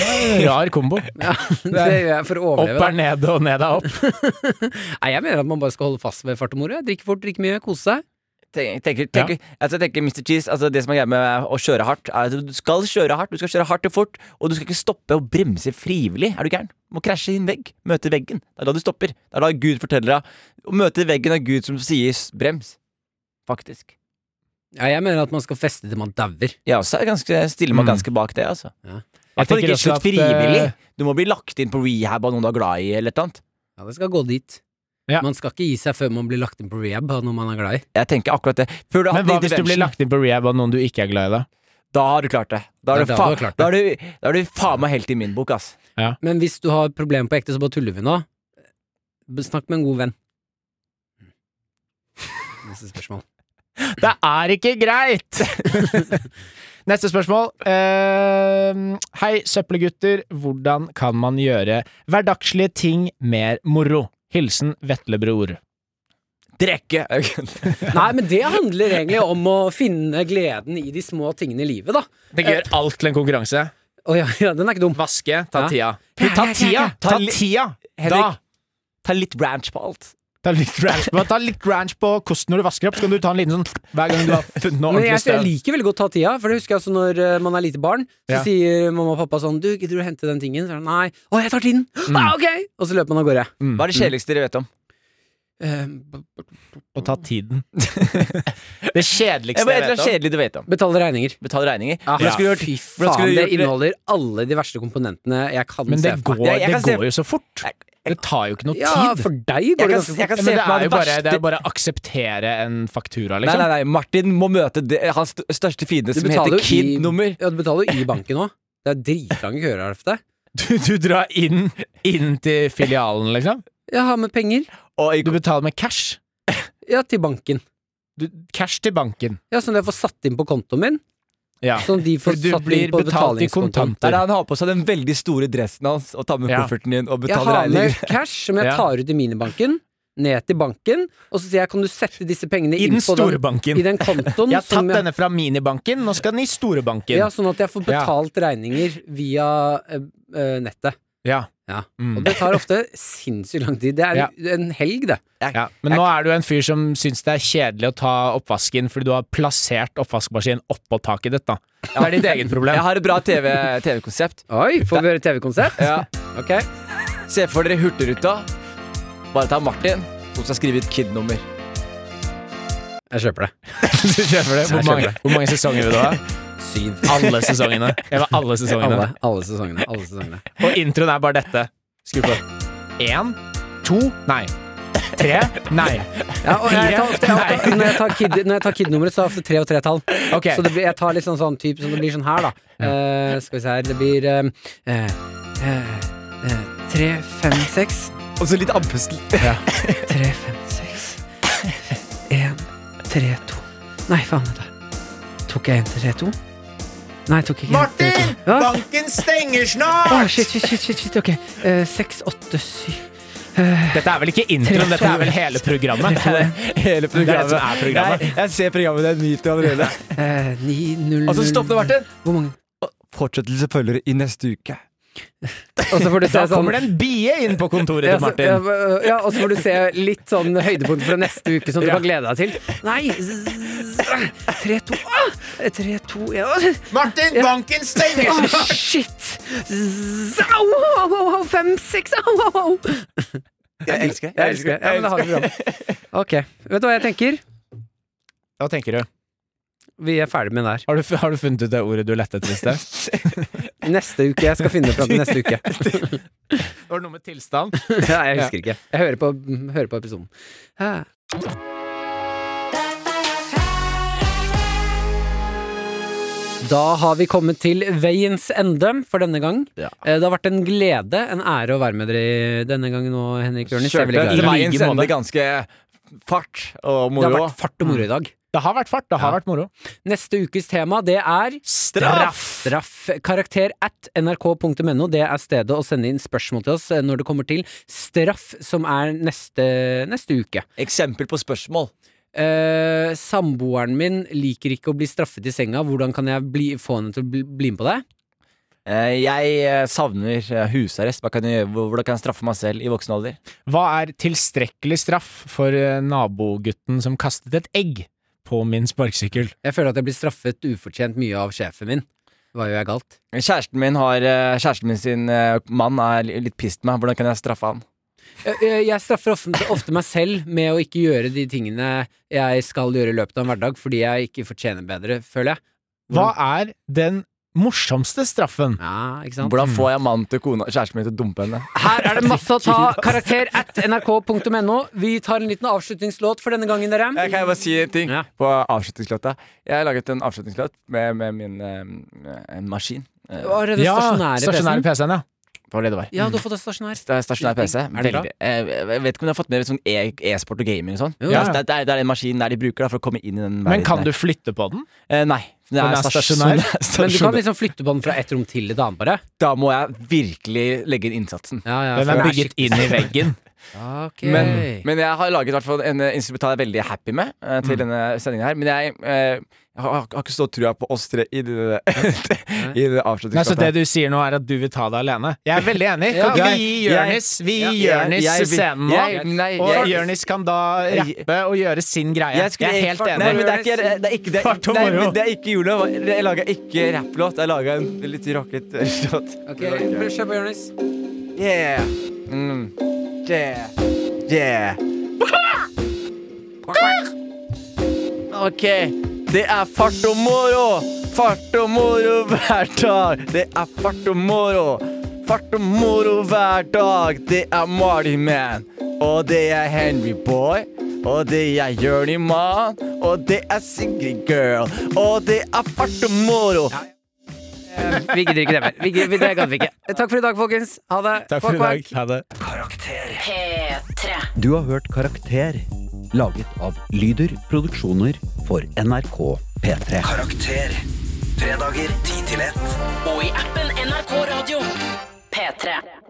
Speaker 3: Rar kombo.
Speaker 2: Ja, det gjør jeg for å
Speaker 3: Opp
Speaker 2: overleve.
Speaker 3: er ned, og ned er opp.
Speaker 2: da. Nei, jeg mener at man bare skal holde fast ved fart og moro. Drikke fort, drikke mye, kose seg.
Speaker 4: Tenker, tenker, tenker, altså, jeg tenker Mr. Cheese, altså, Det som er greia med å kjøre hardt, er at du skal kjøre hardt. Du skal kjøre hardt og fort, og du skal ikke stoppe og bremse frivillig. Er du gæren? Du må krasje i en vegg. Møte veggen. Det er da du stopper. Det er da Gud forteller deg. Å møte veggen er Gud som sier s- brems. Faktisk.
Speaker 2: Ja, jeg mener at man skal feste til man dauer.
Speaker 4: Jeg også er ganske, stiller meg
Speaker 3: Mm.
Speaker 4: ganske bak det, altså.
Speaker 2: Ja.
Speaker 4: I hvert fall
Speaker 3: tenker
Speaker 4: ikke
Speaker 3: også
Speaker 4: slutt
Speaker 3: at, eh,
Speaker 4: frivillig. Du må bli lagt inn på rehab av noen du er glad i, eller et eller annet.
Speaker 2: Ja, det skal gå dit.
Speaker 3: Ja.
Speaker 2: Man skal ikke gi seg før man blir lagt inn på rehab av noen man er glad i.
Speaker 4: Jeg tenker akkurat det. Før du har
Speaker 3: Men hva
Speaker 4: hatt
Speaker 3: hvis du blir
Speaker 4: intervention,
Speaker 3: lagt inn på rehab av noen du ikke er glad i, da?
Speaker 4: Da har du klart det.
Speaker 2: Ja,
Speaker 4: Da har du,
Speaker 2: da
Speaker 4: fa
Speaker 2: har du klart
Speaker 4: da har du, da har du faen meg helt i min bok, ass.
Speaker 2: Men hvis du har problemer på ekte, så bare tuller vi nå. B- Snakk med en god venn. Neste spørsmål.
Speaker 3: Det er ikke greit! Neste spørsmål. Eh, hei, søppelgutter. Hvordan kan man gjøre hverdagslige ting mer moro? Hilsen Vetlebror.
Speaker 4: Drikke!
Speaker 2: Nei, men det handler egentlig om å finne gleden i de små tingene i livet, da.
Speaker 3: Tenk gjør alt til en konkurranse.
Speaker 2: Å ja, ja, den er ikke dum.
Speaker 3: Vaske,
Speaker 2: Ja.
Speaker 3: ta tida.
Speaker 2: Ja, ja,
Speaker 3: Ta
Speaker 2: ja,
Speaker 3: tida!
Speaker 2: ja.
Speaker 3: Ta tida! Da!
Speaker 4: Henrik, ta litt ranch på alt.
Speaker 3: Ta litt ranch på, ta litt ranch på kosten når du vasker opp, så kan du ta en liten sånn hver gang du har funnet noe
Speaker 2: Men jeg,
Speaker 3: ordentlig
Speaker 2: jeg
Speaker 3: sted.
Speaker 2: liker veldig godt ta tida, for det husker jeg altså når eh, man er lite barn. Så
Speaker 3: Ja.
Speaker 2: sier mamma og pappa sånn 'Du, gidder du å hente den tingen?' Så er det 'Nei'. 'Å, jeg tar tiden'.
Speaker 3: Mm.
Speaker 2: Ah, 'Ok!' Og så løper man av gårde.
Speaker 4: Hva er det kjedeligste dere vet om?
Speaker 2: Eh,
Speaker 3: Og ta tiden. Det
Speaker 4: Jeg
Speaker 3: kjedeligste jeg
Speaker 4: bare, et eller
Speaker 3: vet
Speaker 4: annet
Speaker 3: om.
Speaker 4: kjedelig du vet om.
Speaker 2: betale regninger.
Speaker 4: Betale regninger.
Speaker 2: Ah,
Speaker 4: Hvordan skulle du gjort-
Speaker 2: fy
Speaker 4: hvordan
Speaker 2: faen,
Speaker 4: skulle
Speaker 2: det liksom?
Speaker 4: du gjort det?
Speaker 2: inneholder alle de verste komponentene jeg kan
Speaker 3: Men
Speaker 2: se
Speaker 3: det
Speaker 2: for
Speaker 3: går,
Speaker 2: meg.
Speaker 4: Jeg- jeg
Speaker 3: det
Speaker 4: kan se-
Speaker 3: går jo så fort.
Speaker 4: Jeg-
Speaker 3: Det tar jo ikke noe
Speaker 2: Ja,
Speaker 3: tid.
Speaker 2: for deg går
Speaker 4: Jeg
Speaker 2: det
Speaker 4: kan,
Speaker 2: ganske
Speaker 4: jeg kan
Speaker 3: Ja,
Speaker 4: se
Speaker 3: men det
Speaker 4: for meg
Speaker 3: er
Speaker 4: det
Speaker 3: jo bare, det
Speaker 4: verste
Speaker 3: er bare å akseptere en faktura,
Speaker 4: Nei,
Speaker 3: liksom.
Speaker 4: nei, nei, Martin må møte det, hans st- største fiende
Speaker 2: Du
Speaker 4: som
Speaker 2: betaler
Speaker 4: heter
Speaker 2: jo i-
Speaker 4: Kid-nummer.
Speaker 2: Ja, du betaler jo i banken òg. Det er dritlange køer her ofte.
Speaker 3: Du, du drar inn, inn til filialen, liksom.
Speaker 2: Jeg har med penger.
Speaker 4: Og i-
Speaker 3: Du betaler med cash.
Speaker 2: Ja, til banken.
Speaker 3: Du, cash til banken.
Speaker 2: Ja, Sånn at jeg får satt inn på kontoen min.
Speaker 3: Ja.
Speaker 2: Sånn at de
Speaker 3: For
Speaker 2: får
Speaker 3: du
Speaker 2: satt
Speaker 3: blir
Speaker 2: inn på
Speaker 3: betalt i
Speaker 2: betalingskontoen.
Speaker 4: der
Speaker 3: kontanter.
Speaker 4: han har på seg den veldig store dressen hans og tar med
Speaker 3: Ja.
Speaker 4: kofferten din og
Speaker 2: Jeg
Speaker 4: betaler
Speaker 2: har med
Speaker 4: regninger.
Speaker 2: cash som jeg
Speaker 3: Ja.
Speaker 2: tar ut i minibanken, ned til banken, og så sier jeg kan du sette disse pengene
Speaker 3: I
Speaker 2: inn
Speaker 3: den
Speaker 2: på
Speaker 3: store
Speaker 2: den, i
Speaker 3: banken.
Speaker 2: den kontoen
Speaker 3: Jeg har
Speaker 2: som
Speaker 3: tatt
Speaker 2: jeg,
Speaker 3: denne fra minibanken, nå skal den i store banken.
Speaker 2: ja, Sånn at jeg får
Speaker 3: Ja.
Speaker 2: betalt regninger via eh, eh, nettet.
Speaker 3: Ja.
Speaker 2: Ja. Og
Speaker 3: Mm.
Speaker 2: det tar ofte sinnssykt lang tid. Det er en helg, det.
Speaker 3: ja. Men nå er du en fyr som syns det er kjedelig å ta oppvasken fordi du har plassert oppvaskmaskinen oppå taket ditt, da. Det er ditt eget problem.
Speaker 4: Jeg har et bra TV TV-konsept.
Speaker 2: Oi, får vi høre TV-konsept?
Speaker 4: ja.
Speaker 2: Ok.
Speaker 4: Se for dere Hurtigruta. Bare ta Martin, som skal skrive et Kid-nummer.
Speaker 2: Jeg kjøper det.
Speaker 3: Du kjøper det. Hvor
Speaker 2: Jeg kjøper
Speaker 3: mange, hvor mange sesonger vil du ha?
Speaker 2: Syv.
Speaker 3: Alle sesongene. Jeg vil ha alle sesongene.
Speaker 2: Alle, alle sesongene. Alle sesongene.
Speaker 3: Og introen er bare dette. Skru på. Én, to, nei. Tre, nei.
Speaker 2: Ja, og jeg tar ofte, jeg, tar- når jeg tar kid- når jeg tar KID-nummeret, så er det ofte tre og tre tall.
Speaker 3: Ok.
Speaker 2: Så det blir, jeg tar litt sånn, sånn type som det blir sånn her, da. Eh, skal vi se her. Det blir eh, eh, eh, tre, fem, seks.
Speaker 4: Og så litt andpusten.
Speaker 2: Tre, fem, seks. En, tre, to. Nei, faen, vent da. Tok jeg en, tre, to? Nei, tok jeg ikke en, tre, to. Hva?
Speaker 3: Banken stenger
Speaker 2: Å,
Speaker 3: snart!
Speaker 2: shit, shit, shit, shit, shit, ok. Eh, Seks, åtte, syv
Speaker 3: Dette er vel ikke introen, dette er vel hele programmet?
Speaker 4: Hele
Speaker 3: Det er det
Speaker 4: programmet.
Speaker 3: som er programmet.
Speaker 4: Jeg, jeg ser programmet, jeg nyter allerede.
Speaker 2: eh, Ni, null, null
Speaker 3: Altså,
Speaker 4: Og så stopp det, Martin.
Speaker 2: Hvor mange?
Speaker 4: Fortsettelse følger i neste uke.
Speaker 2: Og så får du sånn-
Speaker 3: Da kommer det en bie inn på kontoret til Martin.
Speaker 2: Ja, så- ja, og så får du se litt sånn høydepunkt fra neste uke som du
Speaker 3: Ja.
Speaker 2: kan glede deg til. Nei! z- z- Tre, to ah! Tre, to ja.
Speaker 3: Martin, banken stenger
Speaker 2: Å, shit! Z- Au, au, au, au, fem, seks, au, au, au!
Speaker 4: Jeg elsker det.
Speaker 2: Jeg elsker det. Ja, men da har vi programmet. Ok. Vet du hva jeg tenker?
Speaker 3: Hva tenker du?
Speaker 2: Vi er ferdig med den der.
Speaker 3: Har du, har du funnet ut det ordet du lette etter i sted?
Speaker 2: Neste uke. Jeg skal finne det fram til neste uke.
Speaker 3: Det var noe med tilstand.
Speaker 2: Ja, jeg husker ikke. Jeg hører på, hører på episoden. Ah. Da har vi kommet til veiens ende for denne gang.
Speaker 4: Ja.
Speaker 2: Eh, Det har vært en glede, en ære å være med dere i denne gangen òg, Henrik Jørnis. Jeg er veldig glad i
Speaker 4: Kjørte
Speaker 2: dere.
Speaker 4: til
Speaker 3: I like
Speaker 4: veiens ende
Speaker 3: måte.
Speaker 4: ganske fart og
Speaker 2: Det har
Speaker 4: moro.
Speaker 2: vært fart og moro i dag.
Speaker 3: Det har vært fart. Det har vært moro.
Speaker 2: Neste ukes tema, det er Straff. Karakter at nrk.no. Det er stedet å sende inn spørsmål til oss eh, når det kommer til straff, som er neste, neste uke.
Speaker 4: Eksempel på spørsmål.
Speaker 2: Eh, samboeren min liker ikke å bli straffet i senga. Hvordan kan jeg bli, få henne til å bli, bli med på det?
Speaker 4: Eh, Jeg eh, savner eh, husarrest. Hva kan jeg gjøre? Hvordan kan jeg straffe meg selv i voksen alder?
Speaker 3: Hva er tilstrekkelig straff for eh, nabogutten som kastet et egg på min sparkesykkel?
Speaker 2: Jeg føler at jeg blir straffet ufortjent mye av sjefen min. Hva gjør jeg galt?
Speaker 4: Kjæresten min, har, eh, kjæresten min sin eh, mann er li- litt pissed på meg. Hvordan kan jeg straffe han?
Speaker 2: Eh, eh, Jeg straffer ofte, ofte meg selv med å ikke gjøre de tingene jeg skal gjøre i løpet av en hverdag, fordi jeg ikke fortjener bedre, føler jeg.
Speaker 3: Hva er den morsomste straffen.
Speaker 2: Ja, ikke sant?
Speaker 4: Hvordan får jeg mannen til kona, kjæresten min til å dumpe henne?
Speaker 2: Her er det masse å ta. Karakter at nrk.no. Vi tar en liten avslutningslåt for denne gangen, dere.
Speaker 4: Jeg Eh, kan jeg bare si en ting
Speaker 2: Ja.
Speaker 4: på avslutningslåta? Jeg har laget en avslutningslåt med, med min eh, en maskin. Eh,
Speaker 2: Var det stasjonære PC-en?
Speaker 3: stasjonære PC-en, ja.
Speaker 4: på Ledevar.
Speaker 2: Ja, du har fått en stasjonær.
Speaker 4: Det er stasjonær PC.
Speaker 2: Er det bra?
Speaker 4: Veldig. Eh, Jeg vet ikke om du har fått med litt sånn e- e-sport og gaming og sånn.
Speaker 2: Jo,
Speaker 4: Ja,
Speaker 3: ja.
Speaker 4: så Det, er- det er den maskinen der de bruker da, for å komme inn i den
Speaker 3: Men kan
Speaker 4: verden
Speaker 3: du
Speaker 4: der.
Speaker 3: flytte på den?
Speaker 4: Eh, Nei. Det
Speaker 3: Den
Speaker 4: er
Speaker 3: er
Speaker 4: stasjonær.
Speaker 2: Men du kan
Speaker 4: stasjonær.
Speaker 2: liksom flytte på den fra ett rom til et annet, bare.
Speaker 4: Da må jeg virkelig legge inn innsatsen.
Speaker 2: Ja, ja,
Speaker 3: Den
Speaker 2: for
Speaker 3: er
Speaker 2: det
Speaker 3: bygget
Speaker 2: skikkelig-
Speaker 3: inn i veggen.
Speaker 2: Ok.
Speaker 4: Men, men jeg har laget i hvert fall en eh, instrumental jeg er veldig happy med eh,
Speaker 3: Mm.
Speaker 4: til denne sendingen her. Men jeg, eh, jeg har, har ikke så trua på oss tre i det, i det
Speaker 3: Nei, så det
Speaker 4: avslutningsplatet.
Speaker 3: du sier nå, er at du vil ta det alene? Jeg er veldig enig. Kan
Speaker 4: Ja.
Speaker 3: ikke vi gi Jonis Vi
Speaker 4: Jeg-
Speaker 3: gir
Speaker 4: jeg-
Speaker 3: Jonis
Speaker 4: jeg-
Speaker 3: scenen
Speaker 4: jeg-
Speaker 3: nå?
Speaker 4: nei,
Speaker 3: Og
Speaker 4: jeg-
Speaker 3: Jonis kan da
Speaker 4: Jeg-
Speaker 3: rappe og gjøre sin greie.
Speaker 4: Jeg
Speaker 3: Jeg
Speaker 4: skulle-
Speaker 3: er helt
Speaker 4: Nei, men
Speaker 3: enig.
Speaker 4: det er ikke, det er ikke, det er,
Speaker 3: Fart og
Speaker 4: nei,
Speaker 3: moro.
Speaker 4: men det er ikke jula. Jeg laga ikke rapplåt. Jeg laga en litt rocket låt.
Speaker 2: Ok, Kjør på, Jonis.
Speaker 4: Yeah. Mm. Yeah. Yeah. Ok, det er fart og moro. Fart og moro hver dag. Det er fart og moro. Fart og moro hver dag. Det er Marty Man. Og det er Henry Boy. Og det er Journey Man. Og det er Sigrid Girl. Og det er fart og moro.
Speaker 2: Vi gidder ikke det mer. Vi gidder, det gadd vi ikke. Takk for i dag, folkens. Ha det. Kvakk, kvakk.
Speaker 3: Ha det.
Speaker 7: P3.
Speaker 8: Du har hørt Karakter, laget av Lyder Produksjoner for NRK P3.
Speaker 5: Karakter. Fredager 10 til 1.
Speaker 7: Og i appen NRK Radio. P3.